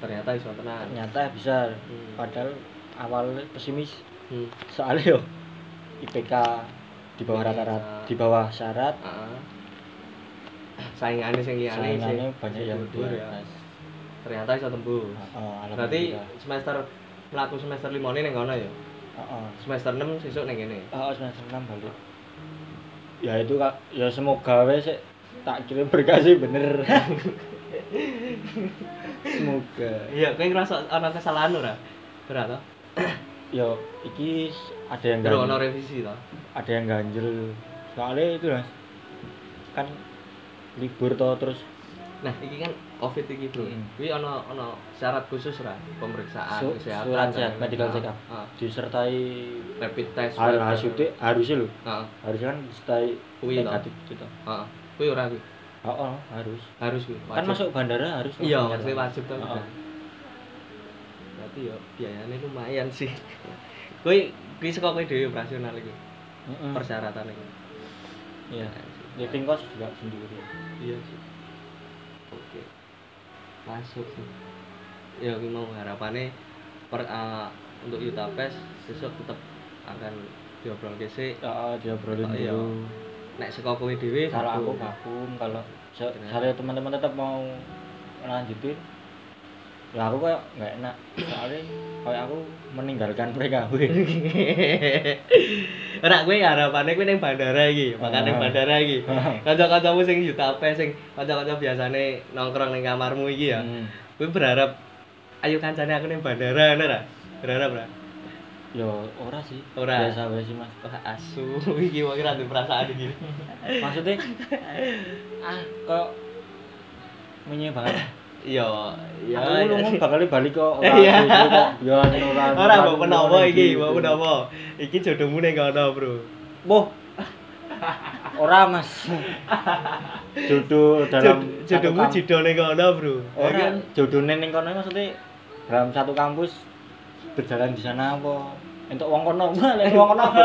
Speaker 1: ternyata iso tenan
Speaker 2: ternyata bisa
Speaker 1: Hmm.
Speaker 2: padahal awalnya pesimis
Speaker 1: Hmm.
Speaker 2: soalnya yo IPK di bawah rata-rata di bawah syarat
Speaker 1: Heeh. saingane sing
Speaker 2: Iya,
Speaker 1: liyane sih
Speaker 2: saingannya banyak yang
Speaker 1: dhuwur
Speaker 2: di
Speaker 1: ya.
Speaker 2: atas.
Speaker 1: ternyata iso tembus
Speaker 2: Oh, alhamdulillah.
Speaker 1: berarti semester mlaku semester 5 ini ning kono ya
Speaker 2: Heeh.
Speaker 1: semester 6 sesuk ning kene.
Speaker 2: Oh, semester 6 balik. Ya itu kak, ya semoga wes sik tak kirim berkasih bener. semoga.
Speaker 1: Iya, kowe ngerasa ana kesalahan ora? Ora to?
Speaker 2: Yo, iki s- ada yang
Speaker 1: Ora ono
Speaker 2: ganjel,
Speaker 1: revisi to.
Speaker 2: ada yang ganjel. Soalnya itu mas, kan libur toh terus
Speaker 1: Nah, iki kan Covid iki, Bro.
Speaker 2: Mm.
Speaker 1: Kuwi ana ana syarat khusus ra pemeriksaan
Speaker 2: su-
Speaker 1: kesehatan.
Speaker 2: surat
Speaker 1: dan
Speaker 2: sehat
Speaker 1: lain-lain.
Speaker 2: medical check up
Speaker 1: Heeh.
Speaker 2: disertai
Speaker 1: Rapid Ah, test.
Speaker 2: hal hasilnya harusnya loh
Speaker 1: Heeh.
Speaker 2: harusnya kan disertai
Speaker 1: Kuwi toh.
Speaker 2: negatif gitu.
Speaker 1: Heeh. ah. Kuwi ora kuwi.
Speaker 2: Oh, oh, harus.
Speaker 1: Harus kuwi.
Speaker 2: Kan
Speaker 1: wajib.
Speaker 2: masuk Ah. bandara harus.
Speaker 1: Iya,
Speaker 2: langsung
Speaker 1: maksudnya
Speaker 2: nyata.
Speaker 1: wajib tuh.
Speaker 2: Heeh.
Speaker 1: Berarti ya biayanya lumayan sih. Kuwi kuwi saka kowe dhewe operasional iki
Speaker 2: Mm-mm.
Speaker 1: persyaratan iki.
Speaker 2: Iya. Living cost juga sendiri.
Speaker 1: Iya sih. Oke. Masuk sih. Ya kuwi mau harapannya per eh, untuk Yutapes besok tetap akan diobrol kese
Speaker 2: Heeh, dia brolin
Speaker 1: Oh, iya.
Speaker 2: dulu.
Speaker 1: nek saka kowe dhewe
Speaker 2: Kalau aku
Speaker 1: baku.
Speaker 2: vakum, kalau se-
Speaker 1: Bener.
Speaker 2: kalau teman-teman tetap mau lanjutin, ya aku kayak nggak enak soalnya kayak aku meninggalkan mereka weh.
Speaker 1: Ora kowe harapane kowe ning bandara iki, makan ning
Speaker 2: Ah.
Speaker 1: bandara iki. Kanca-kancamu sing Yutapes sing kanca-kanca biasane nongkrong ning kamarmu iki ya.
Speaker 2: Hmm.
Speaker 1: Kowe berharap ayo kancane aku ning bandara ngono ra? Berharap ra?
Speaker 2: Yo, ora sih.
Speaker 1: Ora.
Speaker 2: Biasa wae sih, Mas.
Speaker 1: Wah asu iki wong ora duwe perasaan iki.
Speaker 2: Maksudnya ah kok menye banget.
Speaker 1: Iya, iya.
Speaker 2: aku lungo bakal balik kok ora
Speaker 1: Iya.
Speaker 2: susu kok. Ya ora.
Speaker 1: Ora mbok menapa iki, mbok menapa. Iki jodohmu ning kono, Bro.
Speaker 2: Boh. Ora, Mas. Jodoh dalam satu
Speaker 1: Jod- Jodohmu
Speaker 2: kamp-
Speaker 1: jidol ning kono, Bro.
Speaker 2: Ora, jodohne ning kono maksudnya dalam satu kampus berjalan di sana apa? Entuk wong kono, lek wong kono apa?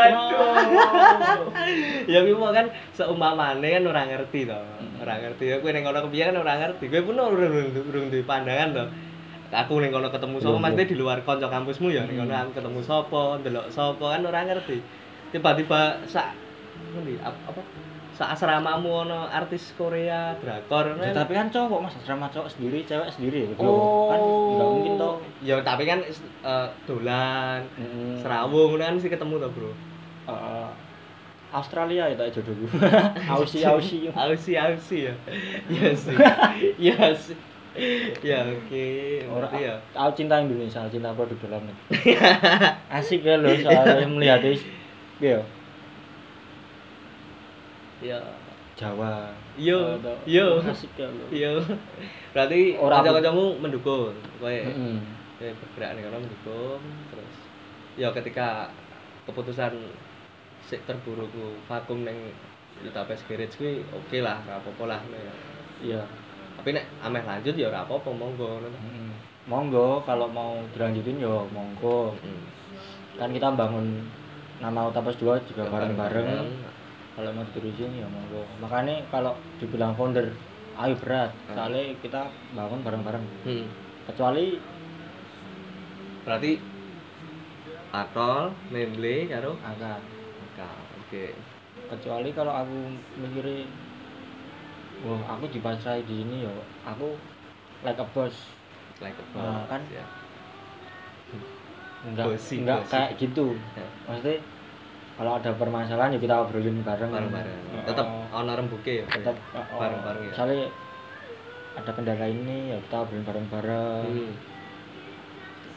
Speaker 1: ya kuwi mau kan seumpamane kan ora ngerti to.
Speaker 2: Hmm.
Speaker 1: Ora ngerti. Ya kowe ning kono kepiye kan ora ngerti. Kowe pun urung urung duwe pandangan to. Aku ning kono ketemu sapa
Speaker 2: Iya,
Speaker 1: maksudnya
Speaker 2: iya. Hmm.
Speaker 1: di luar kanca kampusmu ya ning kono aku ketemu sapa, ndelok sapa kan ora ngerti. Tiba-tiba sak ngendi ap- apa sak asramamu ono artis Korea, drakor
Speaker 2: Ya,
Speaker 1: kan.
Speaker 2: tapi kan cowok mas asrama cowok sendiri cewek sendiri ya berdua.
Speaker 1: Oh.
Speaker 2: kan nggak mungkin toh
Speaker 1: Ya tapi kan eh, dolan,
Speaker 2: Mm-mm.
Speaker 1: serawung kan sih ketemu to, Bro.
Speaker 2: Eh, Australia ya tak jodoh gue Aussie Aussie
Speaker 1: Ausi ausi ya. Iya sih. Iya sih. Ya oke.
Speaker 2: orang
Speaker 1: Berarti ya.
Speaker 2: aku cinta Indonesia aku cinta produk dalam negeri asik ya lo soalnya melihat ya
Speaker 1: Ya.
Speaker 2: Jawa
Speaker 1: Yo,
Speaker 2: Atau-
Speaker 1: yo.
Speaker 2: asik ya lo
Speaker 1: Iya. Berarti
Speaker 2: Orang-
Speaker 1: kanca-kancamu mendukung. Kowe
Speaker 2: Mm-mm.
Speaker 1: kowe bergerak ning kono mendukung terus ya ketika keputusan sik terburukku vakum ning Utapes Garage kuwi oke lah, ora apa-apa lah.
Speaker 2: iya
Speaker 1: Tapi nek ameh lanjut ya ora apa-apa monggo ngono.
Speaker 2: Mm-mm. monggo kalau mau dilanjutin yo monggo kan kita bangun nama Utapas 2 juga bareng-bareng kalau mau diterusin ya monggo makanya kalau dibilang founder ayo berat
Speaker 1: Hmm.
Speaker 2: soalnya kita bangun bareng-bareng
Speaker 1: Hmm.
Speaker 2: kecuali
Speaker 1: Berarti Atol, Memble, karo
Speaker 2: agak
Speaker 1: Angka. Oke.
Speaker 2: kecuali kalau aku mikirnya wah aku dipasrai di sini ya aku like a boss
Speaker 1: Like a
Speaker 2: Nah,
Speaker 1: boss,
Speaker 2: kan.
Speaker 1: ya.
Speaker 2: enggak
Speaker 1: Bossy,
Speaker 2: enggak
Speaker 1: bossy.
Speaker 2: kayak gitu
Speaker 1: Ya,
Speaker 2: maksudnya kalau ada permasalahan ya kita obrolin bareng
Speaker 1: bareng-bareng.
Speaker 2: Oh,
Speaker 1: Tetap ono rembuke ya.
Speaker 2: tetap oh,
Speaker 1: bareng-bareng ya.
Speaker 2: misalnya ada kendala ini ya kita obrolin bareng-bareng
Speaker 1: Hmm.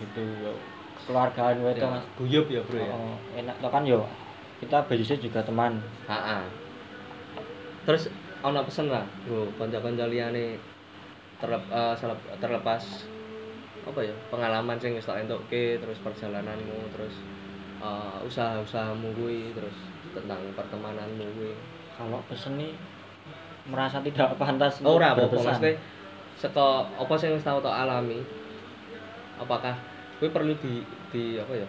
Speaker 2: gitu ya. keluargaan wae toh,
Speaker 1: Ya,
Speaker 2: Mas.
Speaker 1: guyub ya, Bro ya.
Speaker 2: Oh, enak toh kan yo kita basisnya juga teman
Speaker 1: Heeh. Ah, Terus ono pesen lah, Bro, kanca-kanca liyane terlep, eh, selep- terlepas apa ya pengalaman sing wis tak entukke terus perjalananmu terus eh, usaha-usahamu kuwi terus tentang pertemananmu kuwi
Speaker 2: kalau pesen nih merasa tidak pantas
Speaker 1: Oh,
Speaker 2: untuk
Speaker 1: ora apa-apa
Speaker 2: berpesan.
Speaker 1: maksudnya saka apa sing wis tau tak alami apakah kuwi perlu di di apa ya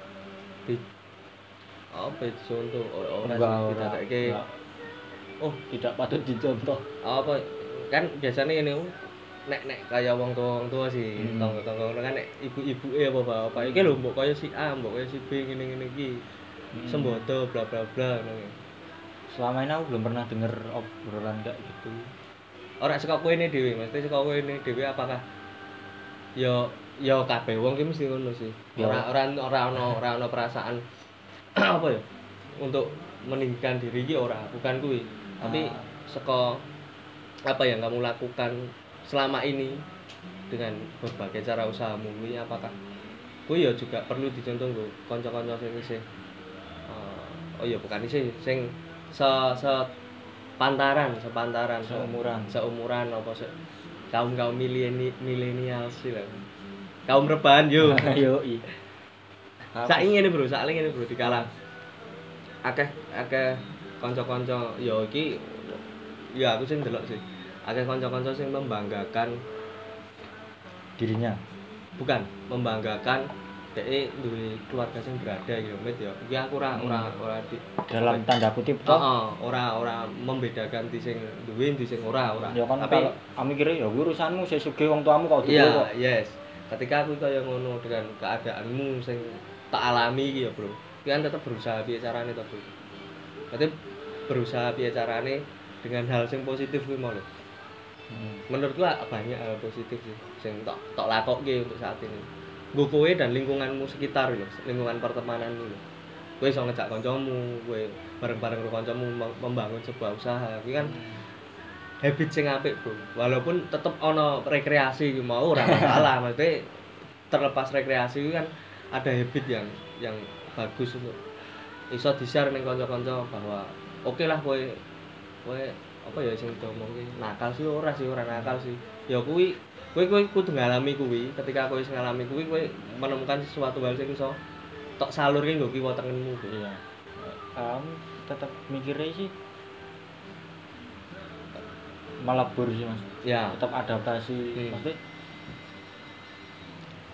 Speaker 1: di apa ya, contoh ora ora
Speaker 2: Enggak,
Speaker 1: sih,
Speaker 2: ora.
Speaker 1: didadake.
Speaker 2: Enggak. oh tidak patut dicontoh
Speaker 1: apa kan biasanya ini nek nek kaya wong tua wong tua sih
Speaker 2: Hmm.
Speaker 1: tonggo tonggo kan nek ibu ibu eh apa bapak bapak iki lho mbok kaya si A mbok kaya si B ngene ngene iki
Speaker 2: Hmm.
Speaker 1: sembodo bla bla bla ngono iki.
Speaker 2: selama ini aku belum pernah denger obrolan kayak gitu
Speaker 1: ora saka kowe ini dhewe mesti saka kowe ini dhewe apakah ya ya kabeh wong ki mesti ngono sih
Speaker 2: Ya.
Speaker 1: ora ora ora ono ora ono perasaan apa ya untuk meninggikan diri ki ora bukan kuwi tapi
Speaker 2: Ah.
Speaker 1: seko apa yang kamu lakukan selama ini dengan berbagai cara usahamu kuwi apakah kuwi ya juga perlu dicontoh nggo kanca-kanca sing isih eh, oh iya bukan isih sing se se pantaran sepantaran se-
Speaker 2: Seumuran.
Speaker 1: seumuran apa se kaum kaum mileni milenial sih lah kaum rebahan yo
Speaker 2: Yo i.
Speaker 1: Sak ini bro, sak ini bro dikala. Akeh akeh kanca-kanca ya iki ya aku sing delok sih. Akeh kanca-kanca sing membanggakan
Speaker 2: dirinya.
Speaker 1: bukan membanggakan dhek duwe keluarga sing berada ya Mit ya. Iki aku ora ora
Speaker 2: Hmm.
Speaker 1: ora di
Speaker 2: Dalam tanda kutip
Speaker 1: Oh,
Speaker 2: toh.
Speaker 1: ora ora membedakan di sing duwe di sing ora ora.
Speaker 2: Ya kan
Speaker 1: oh. Tapi
Speaker 2: kalau kamu kira ya kuwi urusanmu saya sugih wong tuamu kok dulu
Speaker 1: iya,
Speaker 2: kok.
Speaker 1: yes. Ketika aku kaya ngono dengan keadaanmu sing tak alami iki ya, Bro. Iki kan tetep berusaha piye carane to, Bro. Berarti berusaha piye carane dengan hal sing positif kuwi mau lho.
Speaker 2: Hmm.
Speaker 1: Menurutku a- banyak hal positif sih sing tok tok lakokke untuk saat ini. Nggo kowe dan lingkunganmu sekitar lho, lingkungan pertemananmu lho. Kowe iso ngejak kancamu, kowe bareng-bareng karo kancamu mem- membangun sebuah usaha. Kuwi kan habit sing apik, Bro. Walaupun tetep ana rekreasi iki mau ora masalah, maksudnya terlepas rekreasi itu kan ada habit yang yang bagus untuk iso di-share ning kanca-kanca bahwa oke lah kowe kowe apa ya sing diomongke nakal sih ora sih ora nakal sih. Ya kuwi kowe kowe kudu ngalami kuwi, ketika kowe wis ngalami kuwi kowe menemukan sesuatu hal sing iso tok salurke nggo kiwa tengenmu. Bro.
Speaker 2: Iya. Kamu tetap mikirnya sih melebur sih mas.
Speaker 1: Ya.
Speaker 2: tetap adaptasi
Speaker 1: Hmm.
Speaker 2: maksudnya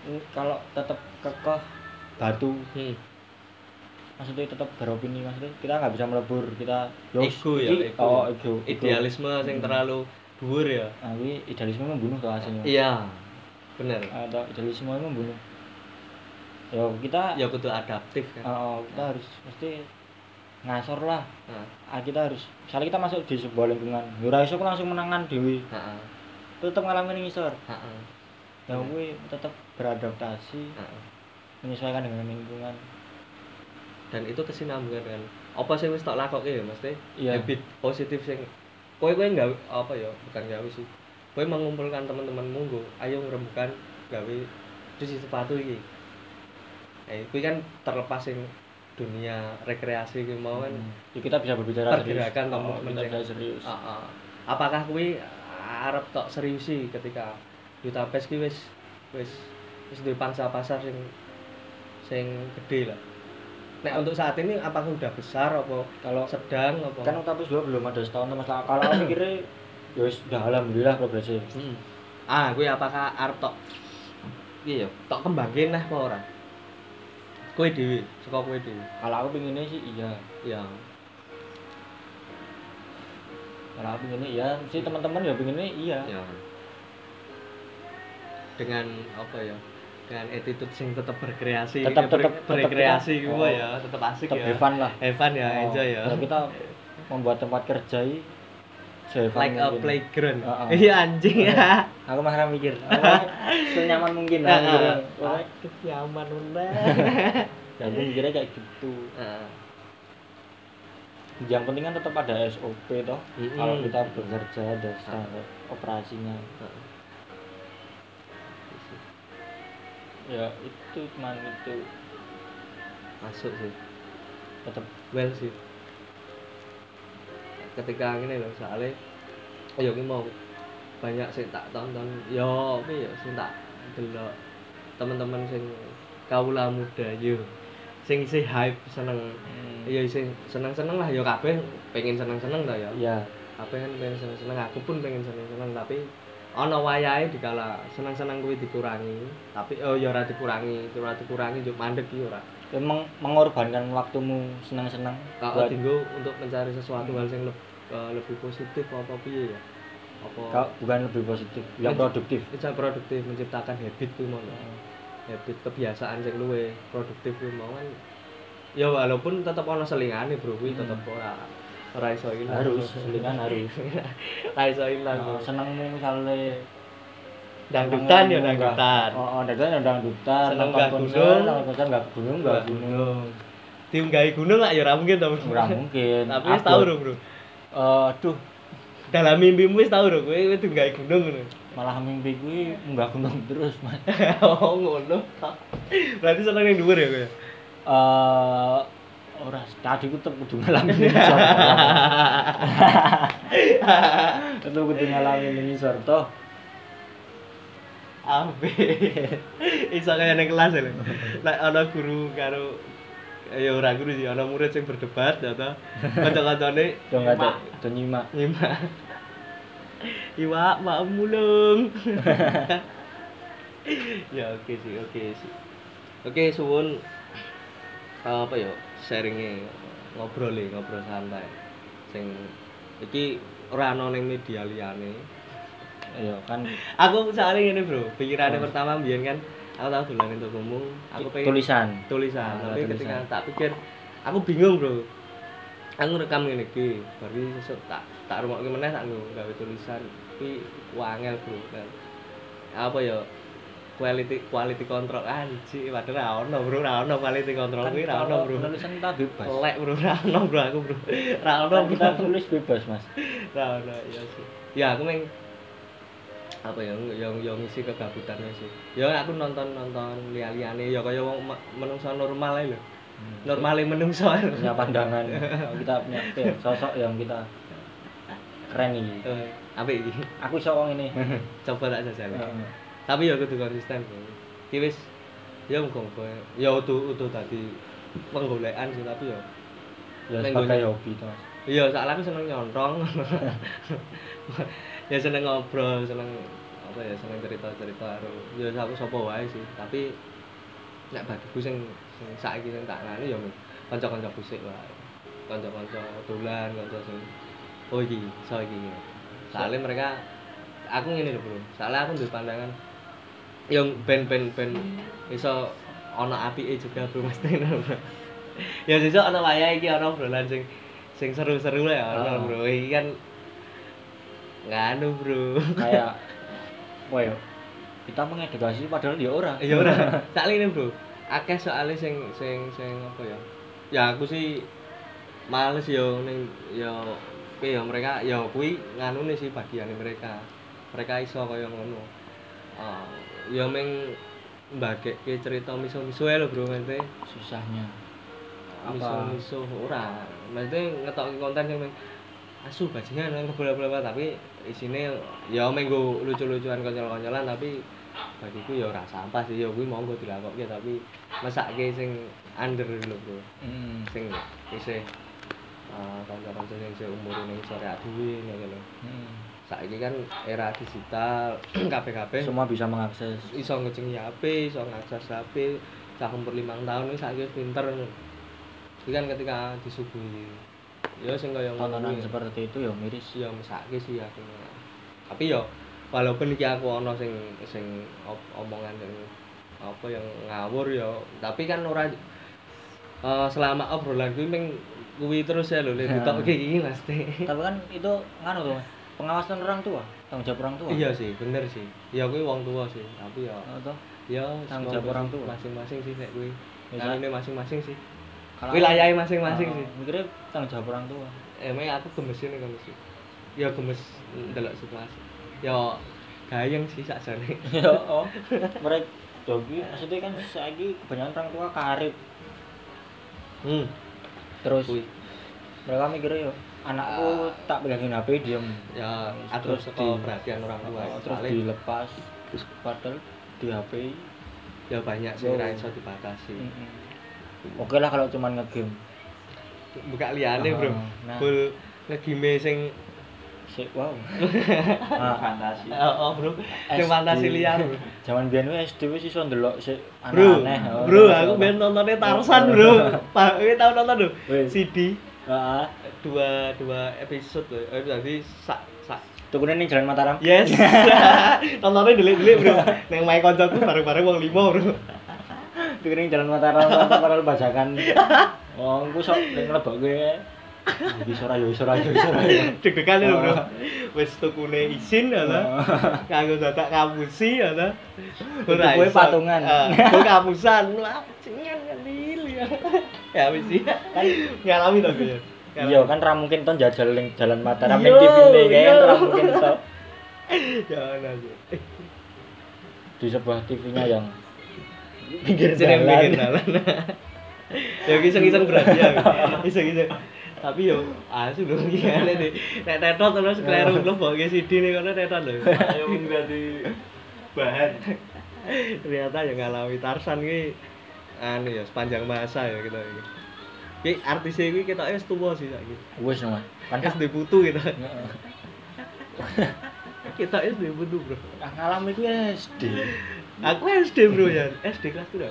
Speaker 2: ini kalau tetap kekeh batu
Speaker 1: Hmm.
Speaker 2: maksudnya tetap beropini maksudnya kita nggak bisa melebur kita
Speaker 1: Ego ya,
Speaker 2: iki-
Speaker 1: ego.
Speaker 2: oh ego ego.
Speaker 1: Idealisme sing terlalu dhuwur ya.
Speaker 2: nah, ini idealisme membunuh tuh aslinya
Speaker 1: Iya. Bener.
Speaker 2: atau idealisme itu membunuh ya kita
Speaker 1: Ya kudu adaptif kan.
Speaker 2: oh, kita harus mesti ngasor lah
Speaker 1: Nah,
Speaker 2: Ah, kita harus misalnya kita masuk di sebuah lingkungan yura iso aku langsung menangan dewi
Speaker 1: heeh.
Speaker 2: tetap ngalamin ngisor
Speaker 1: Heeh.
Speaker 2: ya
Speaker 1: Hmm.
Speaker 2: gue tetap beradaptasi
Speaker 1: heeh.
Speaker 2: menyesuaikan dengan lingkungan
Speaker 1: dan itu kesinambungan dengan apa sih wis tak lakoke ya mesti
Speaker 2: Iya.
Speaker 1: habit positif sing kowe kowe nggak apa ya bukan gawe sih kowe mengumpulkan teman-temanmu nggo ayo ngrembukan gawe cuci sepatu iki eh kowe kan terlepas sing dunia rekreasi kuwi mau kan
Speaker 2: Ya, kita bisa berbicara
Speaker 1: Pergerakan
Speaker 2: serius.
Speaker 1: kamu
Speaker 2: Oh, kita
Speaker 1: penting.
Speaker 2: bisa serius.
Speaker 1: Ah, ah. apakah kuwi arep tok serius sih ketika Duta Pes ki wis wis wis duwe pangsa pasar sing sing gede lah. Nek untuk saat ini apakah udah besar apa
Speaker 2: Kalau
Speaker 1: sedang apa?
Speaker 2: kan utapus dua belum ada setahun Mas. Lah, Kalau aku mikirnya ya wis udah alhamdulillah progresnya.
Speaker 1: Mm. Ah, kuwi apakah arep tok iya ya, tok kembangin lah apa ora? Kowe dhewe, saka kowe dhewe.
Speaker 2: Kalau aku pinginnya sih iya.
Speaker 1: Ya.
Speaker 2: Kalau aku pinginnya iya, si teman-teman ya pinginnya iya.
Speaker 1: ya dengan apa ya dengan attitude sing tetap berkreasi
Speaker 2: Tetep-
Speaker 1: eh, ber-
Speaker 2: tetep- tetep
Speaker 1: berkreasi
Speaker 2: kita-
Speaker 1: gitu
Speaker 2: oh,
Speaker 1: ya tetap asik
Speaker 2: Tetap
Speaker 1: ya
Speaker 2: Evan lah.
Speaker 1: Evan ya
Speaker 2: Oh,
Speaker 1: enjoy ya
Speaker 2: kalau kita membuat tempat kerja ini se-Evan
Speaker 1: like a
Speaker 2: mungkin.
Speaker 1: playground
Speaker 2: Oh, oh.
Speaker 1: iya anjing Ah, ya
Speaker 2: Aku mah ora mikir. Aku mah senyaman mungkin.
Speaker 1: Ah,
Speaker 2: aku mikirnya.
Speaker 1: ah.
Speaker 2: Pokoknya,
Speaker 1: nyaman
Speaker 2: Ya aku mikirnya kayak gitu.
Speaker 1: Ah.
Speaker 2: Yang penting kan tetap ada SOP toh.
Speaker 1: Mm-mm.
Speaker 2: Kalau kita bekerja ada standar operasinya. ya itu cuman itu
Speaker 1: masuk sih
Speaker 2: tetap
Speaker 1: well sih ketika ini loh soalnya oh ya ini mau banyak sih tak tonton yo apa ya sih tak delok teman-teman sing kaula muda yo sing sih hype seneng ya sing seneng seneng lah yo kabeh pengen seneng seneng lah ya
Speaker 2: ya
Speaker 1: kabeh kan pengen seneng seneng aku pun pengen seneng seneng tapi ono wayahe dikala seneng seneng kuwi dikurangi tapi oh ya ora dikurangi ora dikurangi yo mandek iki ora
Speaker 2: memang ya mengorbankan waktumu senang-senang
Speaker 1: kalau
Speaker 2: buat
Speaker 1: tinggal untuk mencari sesuatu hal yang leb- eh, lebih positif apa piye ya apa
Speaker 2: kau bukan lebih positif yang
Speaker 1: Men-
Speaker 2: produktif
Speaker 1: bisa produktif menciptakan habit kuwi mau ya. habit kebiasaan sing luwe produktif kuwi mau kan ya walaupun tetap ono selingane bro kuwi tetep ora ora iso
Speaker 2: Hmm.
Speaker 1: ilang
Speaker 2: harus selingan harus
Speaker 1: ora iso ilang
Speaker 2: Oh, senengmu misalnya
Speaker 1: dangdutan ya
Speaker 2: senengmu nggak-
Speaker 1: dangdutan
Speaker 2: oh, oh dangdutan oh, ya dangdutan
Speaker 1: Seneng
Speaker 2: nonton
Speaker 1: nggak
Speaker 2: konser
Speaker 1: gunung.
Speaker 2: nonton konser nggak gunung nggak gunung
Speaker 1: diunggahi gunung lah ya ora mungkin to. Bro.
Speaker 2: Ora mungkin.
Speaker 1: Tapi wis tau
Speaker 2: Upload.
Speaker 1: lho, Bro.
Speaker 2: Aduh,
Speaker 1: Dalam mimpimu wis tau lho kowe kowe diunggahi gunung ngono.
Speaker 2: malah mimpi gue munggah gunung terus, Mas.
Speaker 1: Oh, ngono. Berarti seneng ning dhuwur ya kowe. ya?
Speaker 2: Eh ora tadi ku tetep kudu ngalami ini Tetep kudu ngalami ini toh.
Speaker 1: Ape. Iso kaya nang kelas ya. lho. Lek ana guru karo ya ora guru sih, ana murid sing berdebat ya ta. Kanca-kancane
Speaker 2: Do ngajak do nyimak.
Speaker 1: nyimak. Iwak, mak mulung. ya oke sih, oke sih. Oke, suwun Eh, apa ya sharingnya ngobrol ya, ngobrol santai. Sing iki ora ana ning media liyane.
Speaker 2: Iya kan
Speaker 1: aku soalnya ini bro pikirannya
Speaker 2: Hmm.
Speaker 1: pertama biar kan aku tahu dolanin tokomu aku pengen
Speaker 2: tulisan.
Speaker 1: tulisan
Speaker 2: Ah,
Speaker 1: tapi
Speaker 2: tulisan.
Speaker 1: ketika tak pikir aku bingung bro aku rekam ini ki baru sesuk tak tak rumah gimana tak nggo gawe tulisan tapi wangel bro kan apa ya quality quality control anjir padahal ra ono bro ra ono quality control kuwi Kan ra ono bro
Speaker 2: Kan Tulisan kita bebas.
Speaker 1: lek bro ra ono bro aku bro ra ono
Speaker 2: Kan
Speaker 1: bro
Speaker 2: kita tulis bebas, Mas.
Speaker 1: Nah, nah, iya sih. Ya aku main apa ya yang yang ngisi kegabutannya sih. Ya aku nonton-nonton liya-liyane ya kaya wong ma- menungso normal ae lho. Normale menungso ae lho.
Speaker 2: punya pandangan kita punya ya, sosok yang kita keren ini
Speaker 1: Eh, apik iki.
Speaker 2: aku sokong ini
Speaker 1: Coba tak jajal. Tapi ya kudu konsisten. Bro. Iki wis ya mung ya utuh utuh tadi penggolekan sih tapi ya
Speaker 2: ya
Speaker 1: Neng
Speaker 2: sebagai
Speaker 1: dunia.
Speaker 2: hobi toh
Speaker 1: Iya, soalnya aku seneng nyontong. ya seneng ngobrol, seneng apa ya, seneng cerita-cerita karo. Ya aku sapa wae sih, tapi nek bagiku sing sing saiki sing tak ngani ya kanca-kanca bisik wae. Kanca-kanca dolan, kanca sing oh iki, iso iki. ngono. Soalnya mereka aku ngene lho, Bro. Soalnya aku duwe pandangan yang ben-ben ben iso ana apike juga, Bro, mesti ngono, Bro. ya sesuk ana wayahe iki ana obrolan sing sing seru-seru lah ya
Speaker 2: Ah.
Speaker 1: ana bro iki kan nganu bro
Speaker 2: kayak apa ya kita mengedukasi padahal dia orang
Speaker 1: ya ora sak ini bro akeh soalnya sing sing sing apa ya ya aku sih males yo ning yo kuwi yo mereka yo kuwi nganune sih bagiane mereka mereka iso kaya ngono Ah, ya meng mbagekke cerita miso-miso ae lho bro maksudnya
Speaker 2: susahnya
Speaker 1: apa
Speaker 2: apa
Speaker 1: misuh ora maksudnya ngetokin konten yang meng- asu bajingan nang kebola-bola tapi isine ya menggo lucu-lucuan konyol-konyolan tapi bagiku ya ora sampah sih ya kuwi monggo dilakokke tapi mesake sing under lho bro
Speaker 2: Hmm,
Speaker 1: sing isih eh, kanca-kanca sing seumur ning sore aduwe ngene lho
Speaker 2: hmm.
Speaker 1: saiki kan era digital kabeh-kabeh
Speaker 2: semua bisa mengakses
Speaker 1: iso ngecengi HP, iso ngakses HP, cah umur 5 tahun ini saiki wis pinter. Iki kan ketika disuguhi ya sing kaya ngono
Speaker 2: tontonan
Speaker 1: kuwi.
Speaker 2: seperti itu ya miris
Speaker 1: ya mesake sih aku. Tapi ya walaupun iki aku ono sing sing op- omongan sing apa yang ngawur ya, tapi kan ora eh, selama obrolan kuwi ming kuwi terus ya lho lek
Speaker 2: Ya.
Speaker 1: ditok iki mesti.
Speaker 2: tapi kan itu nganu tuh Mas. pengawasan orang tua tanggung jawab orang tua
Speaker 1: Iya sih, bener sih. Ya kuwi wong tua sih, tapi ya
Speaker 2: Oh, toh.
Speaker 1: ya
Speaker 2: Tanggung
Speaker 1: semoga
Speaker 2: jawab orang
Speaker 1: sih
Speaker 2: tua.
Speaker 1: masing-masing sih nek Ah. kuwi
Speaker 2: Ya,
Speaker 1: nah,
Speaker 2: sa-
Speaker 1: ini masing-masing sih
Speaker 2: Kalau-
Speaker 1: wilayahnya masing-masing
Speaker 2: Oh,
Speaker 1: sih
Speaker 2: mikirnya tanggung jawab orang tua
Speaker 1: emang aku gemes ini gemes sih ya gemes ndelok situasi ya gayeng sih sakjane
Speaker 2: ya oh mereka jogi maksudnya kan saiki kebanyakan orang tua karib
Speaker 1: hmm
Speaker 2: terus
Speaker 1: Kuwi.
Speaker 2: mereka mikirnya yo
Speaker 1: Ah.
Speaker 2: anakku tak pegangin HP diem
Speaker 1: ya aku
Speaker 2: Terus
Speaker 1: saka
Speaker 2: di-
Speaker 1: perhatian orang tua
Speaker 2: Oh, terus
Speaker 1: soalnya
Speaker 2: dilepas padahal di HP
Speaker 1: ya banyak sih
Speaker 2: Yo.
Speaker 1: ra iso dibatasi
Speaker 2: Mm-mm. oke lah kalau cuman ngegame
Speaker 1: buka liane bro
Speaker 2: Ah, nah.
Speaker 1: full ngegime sing
Speaker 2: sih wow nah,
Speaker 3: Fantasi.
Speaker 1: oh, oh, bro sing
Speaker 2: SD.
Speaker 1: fantasi liar bro
Speaker 2: zaman biyen wis SD wis iso ndelok sik
Speaker 1: Bro,
Speaker 2: aneh-aneh oh,
Speaker 1: bro,
Speaker 2: terus
Speaker 1: aku
Speaker 2: apa.
Speaker 1: ben nontonnya Tarsan, bro. Pak, kowe tau nonton lho?
Speaker 2: Wih.
Speaker 1: CD.
Speaker 2: Heeh.
Speaker 1: dua dua episode loh eh berarti sak sak
Speaker 2: Tukunya ning Jalan Mataram
Speaker 1: yes nontonnya delik delik bro neng main koncoku bareng bareng uang lima bro
Speaker 2: Tukunya ning Jalan Mataram padahal bajakan wong ku sok ning lebokke iso ora yo iso ora yo iso ora yo.
Speaker 1: deg-degan lho bro
Speaker 2: Oh.
Speaker 1: wes tukune izin ala kanggo dadak ya kamusi ala
Speaker 2: Itu
Speaker 1: Ah,
Speaker 2: kue patungan.
Speaker 1: gue kamusan wah cengen ngelil ya ya wis sih kan ngalami to gue
Speaker 2: iya kan ra mungkin ton jajal ning jalan Mataram ning
Speaker 1: Yo,
Speaker 2: TV kan
Speaker 1: yo.
Speaker 2: ra mungkin to
Speaker 1: ya ana sih
Speaker 2: di sebuah TV-nya yang pinggir
Speaker 1: Jeneng bikin
Speaker 2: jalan
Speaker 1: dalan. ya iseng-iseng berarti ya. Iseng-iseng. Tapi yo asu lho iki ngene deh. Nek tetot terus kleru mlebokke sidi ning kono tetot lho.
Speaker 3: Ayo menjadi bahan.
Speaker 1: Ternyata ya ngalawi Tarsan ki anu ya sepanjang masa ya kita iki. Ki artis iki kita wis tuwa sih saiki.
Speaker 2: wis no Mas. kan
Speaker 1: Wis duwe putu kita.
Speaker 2: Heeh.
Speaker 1: Kita wis duwe putu, Bro.
Speaker 2: Nah, ngalami ku SD
Speaker 1: Aku SD, Bro, ya. SD kelas piro?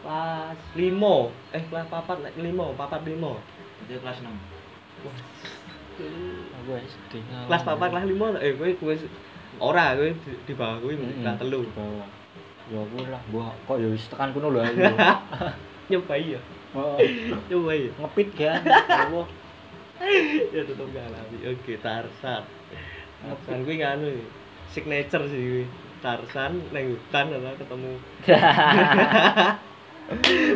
Speaker 1: Kelas 5. Eh, kelas 4, 5, 4 5.
Speaker 3: Itu kelas 6.
Speaker 2: aku SD ngalami.
Speaker 1: kelas papat kelas lima eh gue gue ora gue di, di bawah gue
Speaker 2: Mm-mm.
Speaker 1: kelas telu
Speaker 2: Di bawah. ya aku lah gua kok ya wis tekan kuno lho aku
Speaker 1: nyobai ya
Speaker 2: Oh,
Speaker 1: nyobai ya
Speaker 2: ngepit kan ya Allah.
Speaker 1: ya tetep gak alami oke Tarsan Tarsan gue nganu ya. signature sih gue Tarsan neng hutan ora ketemu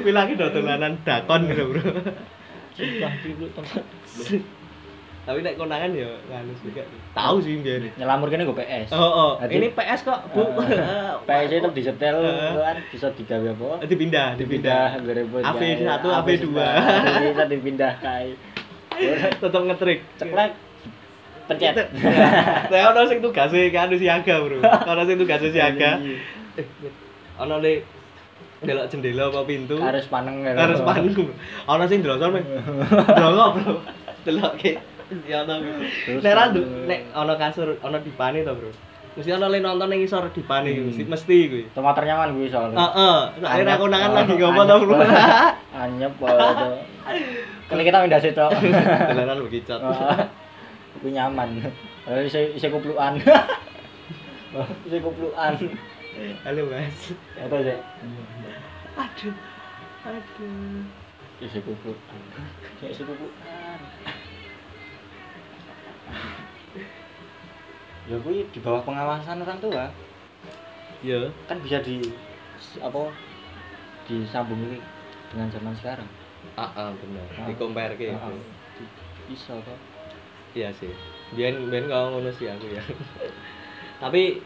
Speaker 1: gue lagi do dolanan dakon gitu bro
Speaker 2: Sumpah, Bro, temen.
Speaker 1: tapi nek konangan ya nganu sih gak tahu sih biar
Speaker 2: nyelamur kene go PS
Speaker 1: oh oh
Speaker 2: Jadi-
Speaker 1: ini PS kok bu
Speaker 2: PS ah. itu e disetel
Speaker 1: Heeh.
Speaker 2: kan bisa digawe apa
Speaker 1: Ah, dipindah dipindah
Speaker 2: berebut
Speaker 1: AV
Speaker 2: guys.
Speaker 1: satu, AV dua.
Speaker 2: bisa dipindah kai
Speaker 1: tetep ngetrik
Speaker 2: ceklek pencet
Speaker 1: Lah ono sing tugase kan siaga, Bro. Ono sing tugase siaga.
Speaker 2: Iya.
Speaker 1: Eh, Ono le delok jendela apa pintu.
Speaker 2: harus paneng kan?
Speaker 1: Harus panu. Ono sing delosor meh. Delok, Bro. Delok ke ya ono.
Speaker 2: Terus
Speaker 1: Nek
Speaker 2: panu.
Speaker 1: ra ndu- nek ono kasur, ono dipane to, Bro. Mesti ono le nonton ning isor dipane
Speaker 2: Hmm.
Speaker 1: mesti mesti kuwi.
Speaker 2: tomater nyaman gue soalnya
Speaker 1: Heeh, soalnya ra
Speaker 2: Anyep.
Speaker 1: konangan lagi
Speaker 2: Oh,
Speaker 1: ngopo to,
Speaker 2: anyep.
Speaker 1: Bro.
Speaker 2: anyep kalau itu kali kita pindah situ
Speaker 1: Dolanan bekicot.
Speaker 2: aku nyaman Eh, isi isi kupluan isi kupluan
Speaker 1: Halo, Mas.
Speaker 2: apa sih
Speaker 1: Aduh. Aduh.
Speaker 2: isi kupluan isi kupluan ya gue di bawah pengawasan orang tua
Speaker 1: Ya,
Speaker 2: kan bisa di apa disambung ini dengan zaman sekarang
Speaker 1: heeh bener.
Speaker 2: Ah.
Speaker 1: Dikomparke.
Speaker 2: Nah, di- bisa kok
Speaker 1: Iya sih. Biyen biyen kalau ngono sih aku ya. Tapi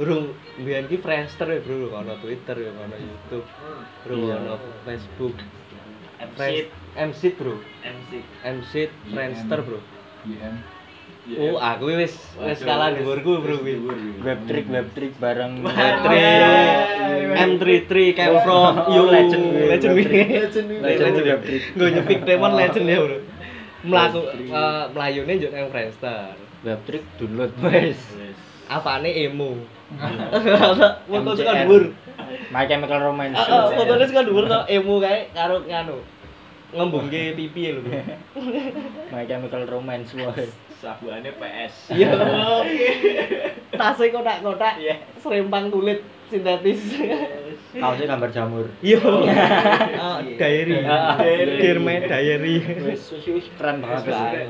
Speaker 1: burung biyen ki Friendster ya, Bro. Ono Twitter, ya, ono YouTube, bro,
Speaker 2: Iya.
Speaker 1: ono Facebook.
Speaker 3: MC,
Speaker 1: MC, Bro.
Speaker 3: MC,
Speaker 1: MC Friendster, Bro.
Speaker 3: YM.
Speaker 1: Oh, aku wis wis kalah dhuwurku, Bro. kuwi.
Speaker 2: web trick web trick bareng
Speaker 1: Hmm. Web
Speaker 3: trick.
Speaker 1: M33 came from
Speaker 2: Oh,
Speaker 1: you
Speaker 2: legend kuwi,
Speaker 1: legend
Speaker 2: web
Speaker 1: kuwi.
Speaker 2: trick.
Speaker 1: legend kuwi.
Speaker 2: Legend kuwi, web trick.
Speaker 1: Nggo nyepik Demon legend ya, Bro. Melaku
Speaker 3: Web trick.
Speaker 1: eh, melayune yo nang Friendster.
Speaker 2: web trick download wes
Speaker 1: Iya. Apane emo. Foto
Speaker 2: MCR.
Speaker 1: suka dhuwur.
Speaker 2: My Chemical Romance
Speaker 1: Ah, ah, fotonya suka dhuwur to emu kae karo nganu. Ngembungke pipi lho. Bro.
Speaker 2: My Chemical Romance wes
Speaker 3: Sabuannya PS.
Speaker 1: Iya. Tase kotak-kotak
Speaker 3: Iya.
Speaker 1: serempang kulit sintetis.
Speaker 2: kaosnya gambar jamur
Speaker 1: Yo. Ah, diary.
Speaker 2: Ah, ah.
Speaker 1: Dear my diary.
Speaker 2: wes wes wes keren banget
Speaker 3: Wes,
Speaker 2: wes
Speaker 3: keren.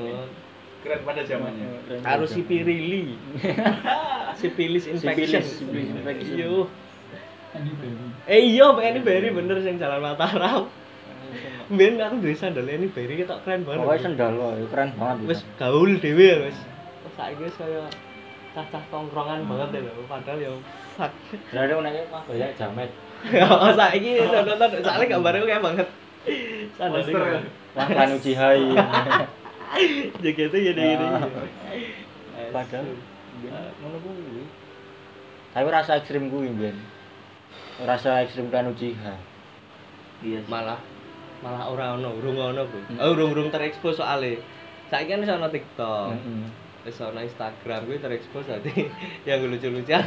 Speaker 3: Keren pada zamannya.
Speaker 1: Harus si Pirili. Sipilis infection.
Speaker 2: Sipilis, sipilis infection.
Speaker 1: Yo. Eh iya, ini Berry bener sing jalan Mataram. Ben aku duwe sandal ini Berry ketok keren banget.
Speaker 2: pokoknya sendal wae keren banget
Speaker 1: wis gaul dhewe ya wis. Wis saiki wis kaya cacah tongkrongan banget ya lho, padahal ya fuck.
Speaker 2: dari uneknya mah banyak jamet
Speaker 1: Oh, saiki nonton soalnya gambarnya kayak banget. Sandal
Speaker 3: Monster ya?
Speaker 2: wah kan uji hai
Speaker 1: Jaketnya gini-gini.
Speaker 2: padahal ngono kuwi tapi rasa ekstrim kuwi ben rasa ekstrim kan uji hai
Speaker 3: Iya.
Speaker 1: malah malah ora ono urung ono bro oh, urung urung terekspos soalnya saiki kan bisa ono tiktok
Speaker 2: Hmm,
Speaker 1: bisa ono instagram gue terekspos tadi yang lucu lucuan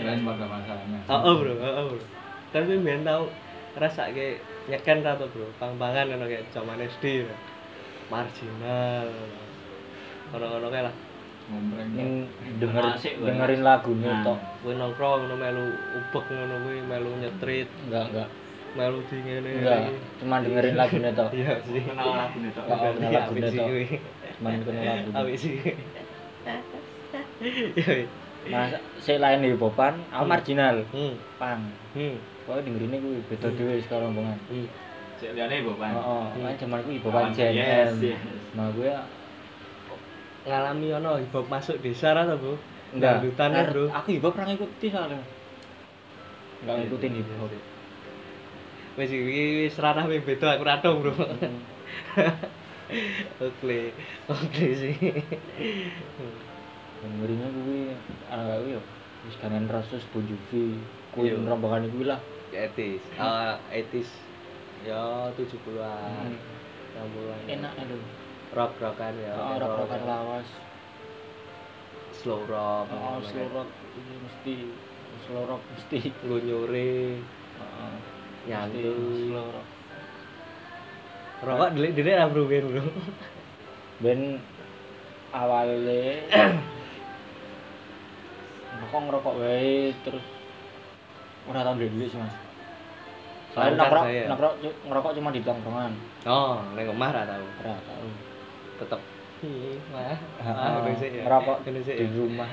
Speaker 3: Keren pada masanya.
Speaker 1: oh, oh bro oh, oh, bro kan gue biar tau rasa kayak nyekan atau bro pang pangan ono kayak zaman sd bro. marginal ono ono kayak lah
Speaker 3: Ngompreng.
Speaker 2: Ning dengerin
Speaker 3: Asik, Bang.
Speaker 2: dengerin lagunya
Speaker 3: Nah.
Speaker 2: tok.
Speaker 1: gue nongkrong ngono melu ubek ngono gue melu nyetrit
Speaker 2: Enggak, enggak.
Speaker 1: melu dingin
Speaker 2: Enggak, cuma dengerin lagunya tok.
Speaker 1: iya
Speaker 3: Iya.
Speaker 1: sih Iya,
Speaker 3: Kenal lagu nih tok. Hmm.
Speaker 2: Nggak kenal lagu
Speaker 1: Berarti apik sih
Speaker 2: tok.
Speaker 1: gue.
Speaker 2: Cuma dengerin lagunya.
Speaker 1: Awik sih. Yoi.
Speaker 2: Mas sik lain hip hopan, aku marginal,
Speaker 1: Hmm.
Speaker 2: pang.
Speaker 1: Hmm.
Speaker 2: Pokoke dengerine kuwi beda dhewe sekarang rombongan.
Speaker 1: Hmm.
Speaker 3: Cek liane ibu
Speaker 1: Oh,
Speaker 3: pan.
Speaker 2: Heeh, kan jaman kuwi hip
Speaker 3: Kawan-
Speaker 2: hopan Gen
Speaker 3: yes,
Speaker 2: M.
Speaker 3: yes.
Speaker 2: Nah, gue
Speaker 1: Ngalami ono hip hop masuk desa ra to, Bu?
Speaker 2: enggak
Speaker 1: Dangdutan ya,
Speaker 2: Aku-
Speaker 1: Bro.
Speaker 2: Aku hip hop pernah ngikuti soalnya. Iya. Enggak ngikutin hip hop.
Speaker 1: Wis iki wis ranah wis beda aku ra tau, Bro. Oke. Oke sih.
Speaker 2: Dengerine kuwi ana kuwi yo. ya. Wis kanen Roses Bon Jovi, kuwi
Speaker 1: Iya.
Speaker 2: rombongan kuwi lah.
Speaker 1: Etis. Ah, etis. Ya
Speaker 2: Nah,
Speaker 1: 70-an, 60-an.
Speaker 2: Iya. Enak Oh, lho.
Speaker 1: Rock-rockan ya.
Speaker 2: Heeh,
Speaker 1: rock,
Speaker 2: rock-rockan lawas.
Speaker 1: Slow rock.
Speaker 2: Heeh, Oh, slow rock ini mesti slow rock mesti.
Speaker 1: Nglunyure,
Speaker 2: Heeh. mesti
Speaker 1: nyantuy.
Speaker 2: Slow rock.
Speaker 1: Rokok delik-delik lah, Bro, biyen, Bro.
Speaker 2: ben awalnya ngerokok ngerokok wae terus udah tahun dulu sih mas
Speaker 1: Tahu
Speaker 2: soalnya
Speaker 1: kan
Speaker 2: nongkrok
Speaker 1: saya.
Speaker 2: nongkrok cu- ngerokok cuma di tongkrongan
Speaker 1: Oh, nek omah ra tau.
Speaker 2: ora tahu
Speaker 1: Tetep. Iya, mah.
Speaker 2: Heeh,
Speaker 1: Ah, Indonesia ya.
Speaker 2: ngerokok
Speaker 1: Indonesia
Speaker 2: di
Speaker 1: ya.
Speaker 2: rumah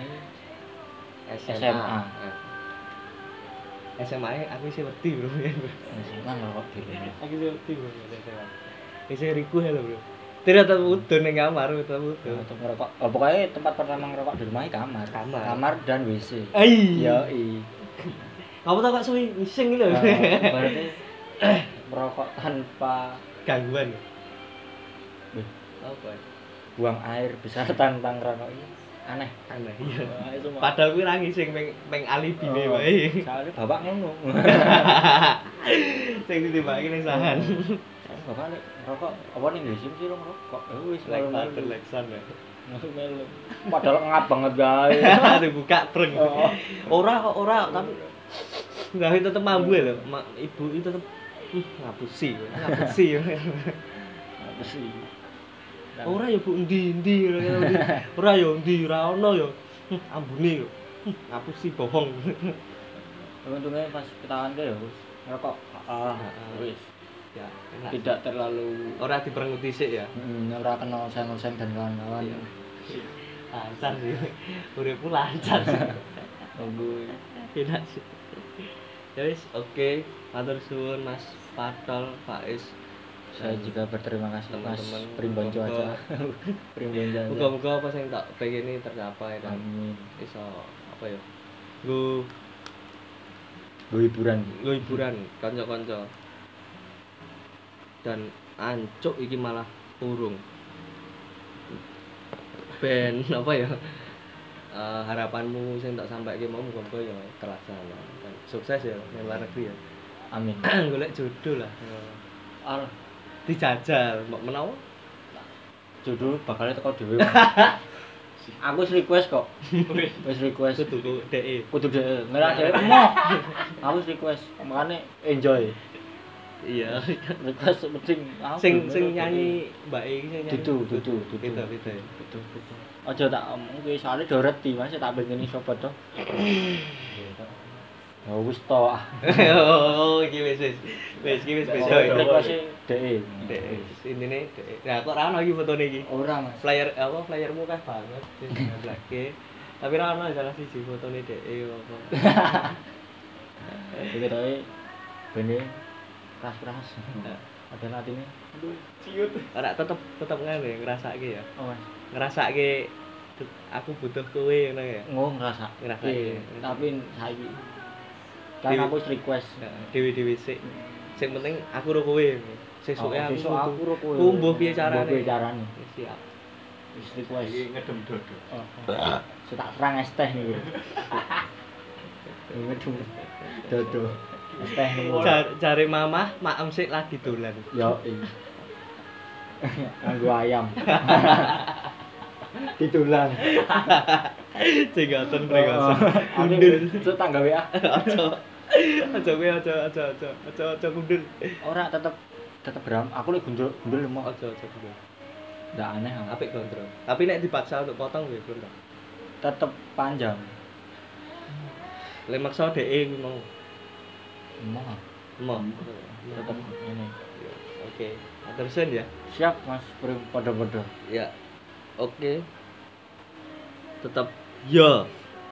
Speaker 1: SMA. SMA -nya aku sih wedi bro.
Speaker 2: SMA ngerokok di rumah
Speaker 1: aku sih wedi bro SMA. Saya riku halo bro. Tidak tetap udon yang kamar, tetap udon.
Speaker 2: Untuk ngerokok oh, pokoknya tempat pertama ngerokok di rumah kamar
Speaker 1: Kamar. Eh,
Speaker 2: dan WC
Speaker 1: Iya.
Speaker 2: iya i
Speaker 1: Kamu tau gak suwi ngising gitu. Ah.
Speaker 2: berarti merokok tanpa
Speaker 1: Gangguan.
Speaker 2: Wih.
Speaker 1: Apa? ya?
Speaker 2: buang air besar tanpa ngerokok ini aneh
Speaker 1: Aneh. Iya.
Speaker 2: Wah, itu mah-
Speaker 1: Padahal gue ra ngising meng meng alibi nih
Speaker 2: Oh,
Speaker 1: wae.
Speaker 2: soalnya bapak ngono
Speaker 1: Sing ditembaki ning sahan.
Speaker 2: Soalnya bapak lek ngerokok apa nih di sini sih lo ngerokok ya wis
Speaker 1: Lek paten
Speaker 2: melu-melu.
Speaker 1: lek san. ya.
Speaker 2: Melu-melu. padahal ngap banget guys
Speaker 1: Dibuka breng.
Speaker 2: Oh.
Speaker 1: Ora kok ora tapi Nah, itu tetep mambu ya lho. Ma, ibu itu tetep "Ih, ngapusi, ngapusi.
Speaker 2: apa sih
Speaker 1: Ora ya Bu endi-endi ngono ya, endi. Ora ya endi, ora ono ya. Hm, Ambune yo. Hm, Ngapusi bohong.
Speaker 2: untungnya pas ketahuan deh ya wis ngerokok ah wis
Speaker 1: Ya, enak.
Speaker 2: tidak terlalu
Speaker 1: ora diperenguti sik ya.
Speaker 2: Hmm, ora kenal sen-sen dan kawan-kawan
Speaker 1: Iya. Lancar sih. Uripku lancar sih.
Speaker 2: nunggu
Speaker 1: Enak sih. Ya wis, oke. Matur suwun Mas Patol, Faiz.
Speaker 2: saya
Speaker 1: Dan
Speaker 2: juga berterima kasih mas
Speaker 1: Teman-teman,
Speaker 2: Primbon cuaca Primbon cuaca
Speaker 1: Muga-muga apa sing tak pengen tercapai dan
Speaker 2: amin
Speaker 1: iso apa ya? Gue
Speaker 2: gue hiburan
Speaker 1: lo hiburan kanca-kanca dan ancuk iki malah urung ben apa ya eh, harapanmu sing tak sampai mau muga-muga ya terasa lah. dan sukses ya nang luar negeri ya
Speaker 2: amin
Speaker 1: golek jodoh lah
Speaker 2: al
Speaker 1: dijajal mbok menawa
Speaker 2: judul bakalnya teko dhewe aku wis request kok wis request
Speaker 1: aku tuku DE
Speaker 2: kudu dhewe merah dhewe emoh aku wis request makane enjoy
Speaker 1: iya
Speaker 2: request penting Aku
Speaker 1: sing
Speaker 2: belum
Speaker 1: sing
Speaker 2: merah
Speaker 1: nyanyi mbak E iki sing nyanyi
Speaker 2: Dudu, dudu, dudu.
Speaker 1: Beda, beda ya.
Speaker 2: dhewe. Betul, betul. aja tak omong kuwi soalnya doret ti mas tak pengen sobat to ya wis to ah
Speaker 1: oh iki wis wis wis iki wis beda
Speaker 2: Oh,
Speaker 1: ya.
Speaker 2: request dhewe
Speaker 1: Dek, intine dek. Nah, kok ra ono iki fotone iki.
Speaker 2: ora mas
Speaker 1: Flyer apa flyermu kah banget sing blakke. Tapi ra ono salah siji fotone dek e apa.
Speaker 2: iki dhewe bene keras-keras ada latine aduh ciut
Speaker 1: Ora tetep tetep ngene ngrasake ya.
Speaker 2: oh mas
Speaker 1: Ngrasake tet- aku butuh kowe ngono ya.
Speaker 2: Oh, ngerasa.
Speaker 1: Ngerasa,
Speaker 2: Iya,
Speaker 1: iya.
Speaker 2: Tapi saiki kan
Speaker 1: Dewi-
Speaker 2: aku wis request.
Speaker 1: Dewi-dewi sik. Sing penting aku ro kowe. Sesuke
Speaker 2: Oh,
Speaker 1: aku.
Speaker 2: sesuk aku ro kowe.
Speaker 1: Ku mbuh piye carane?
Speaker 2: Mbuh piye carane?
Speaker 1: Siap.
Speaker 2: Wis request.
Speaker 3: Iki ngedem dodo.
Speaker 2: Oh. Saya tak serang es teh niku. Ini cung. Dodo. Es teh niku.
Speaker 1: Jar- Jare mamah, maem sik lagi dolan.
Speaker 2: Yo. Kanggo ayam. Ditulang.
Speaker 1: Jenggoten prekoso.
Speaker 2: Undur. Tetangga WA.
Speaker 1: Aja. Aja kowe aja aja aja aja aja kundur.
Speaker 2: Ora tetep tetep beram. Aku lek gundul gundul mau.
Speaker 1: Oh, Aja aja kundur.
Speaker 2: Ndak aneh. aku.
Speaker 1: apik gondrong tapi nek dipaksa untuk potong ya belum tak
Speaker 2: Tetep panjang.
Speaker 1: lek maksa dhek eh, mau
Speaker 2: Mau.
Speaker 1: mau Iya.
Speaker 2: Tetep ini.
Speaker 1: oke matur suwun ya
Speaker 2: siap mas prim pada pada
Speaker 1: ya oke tetap ya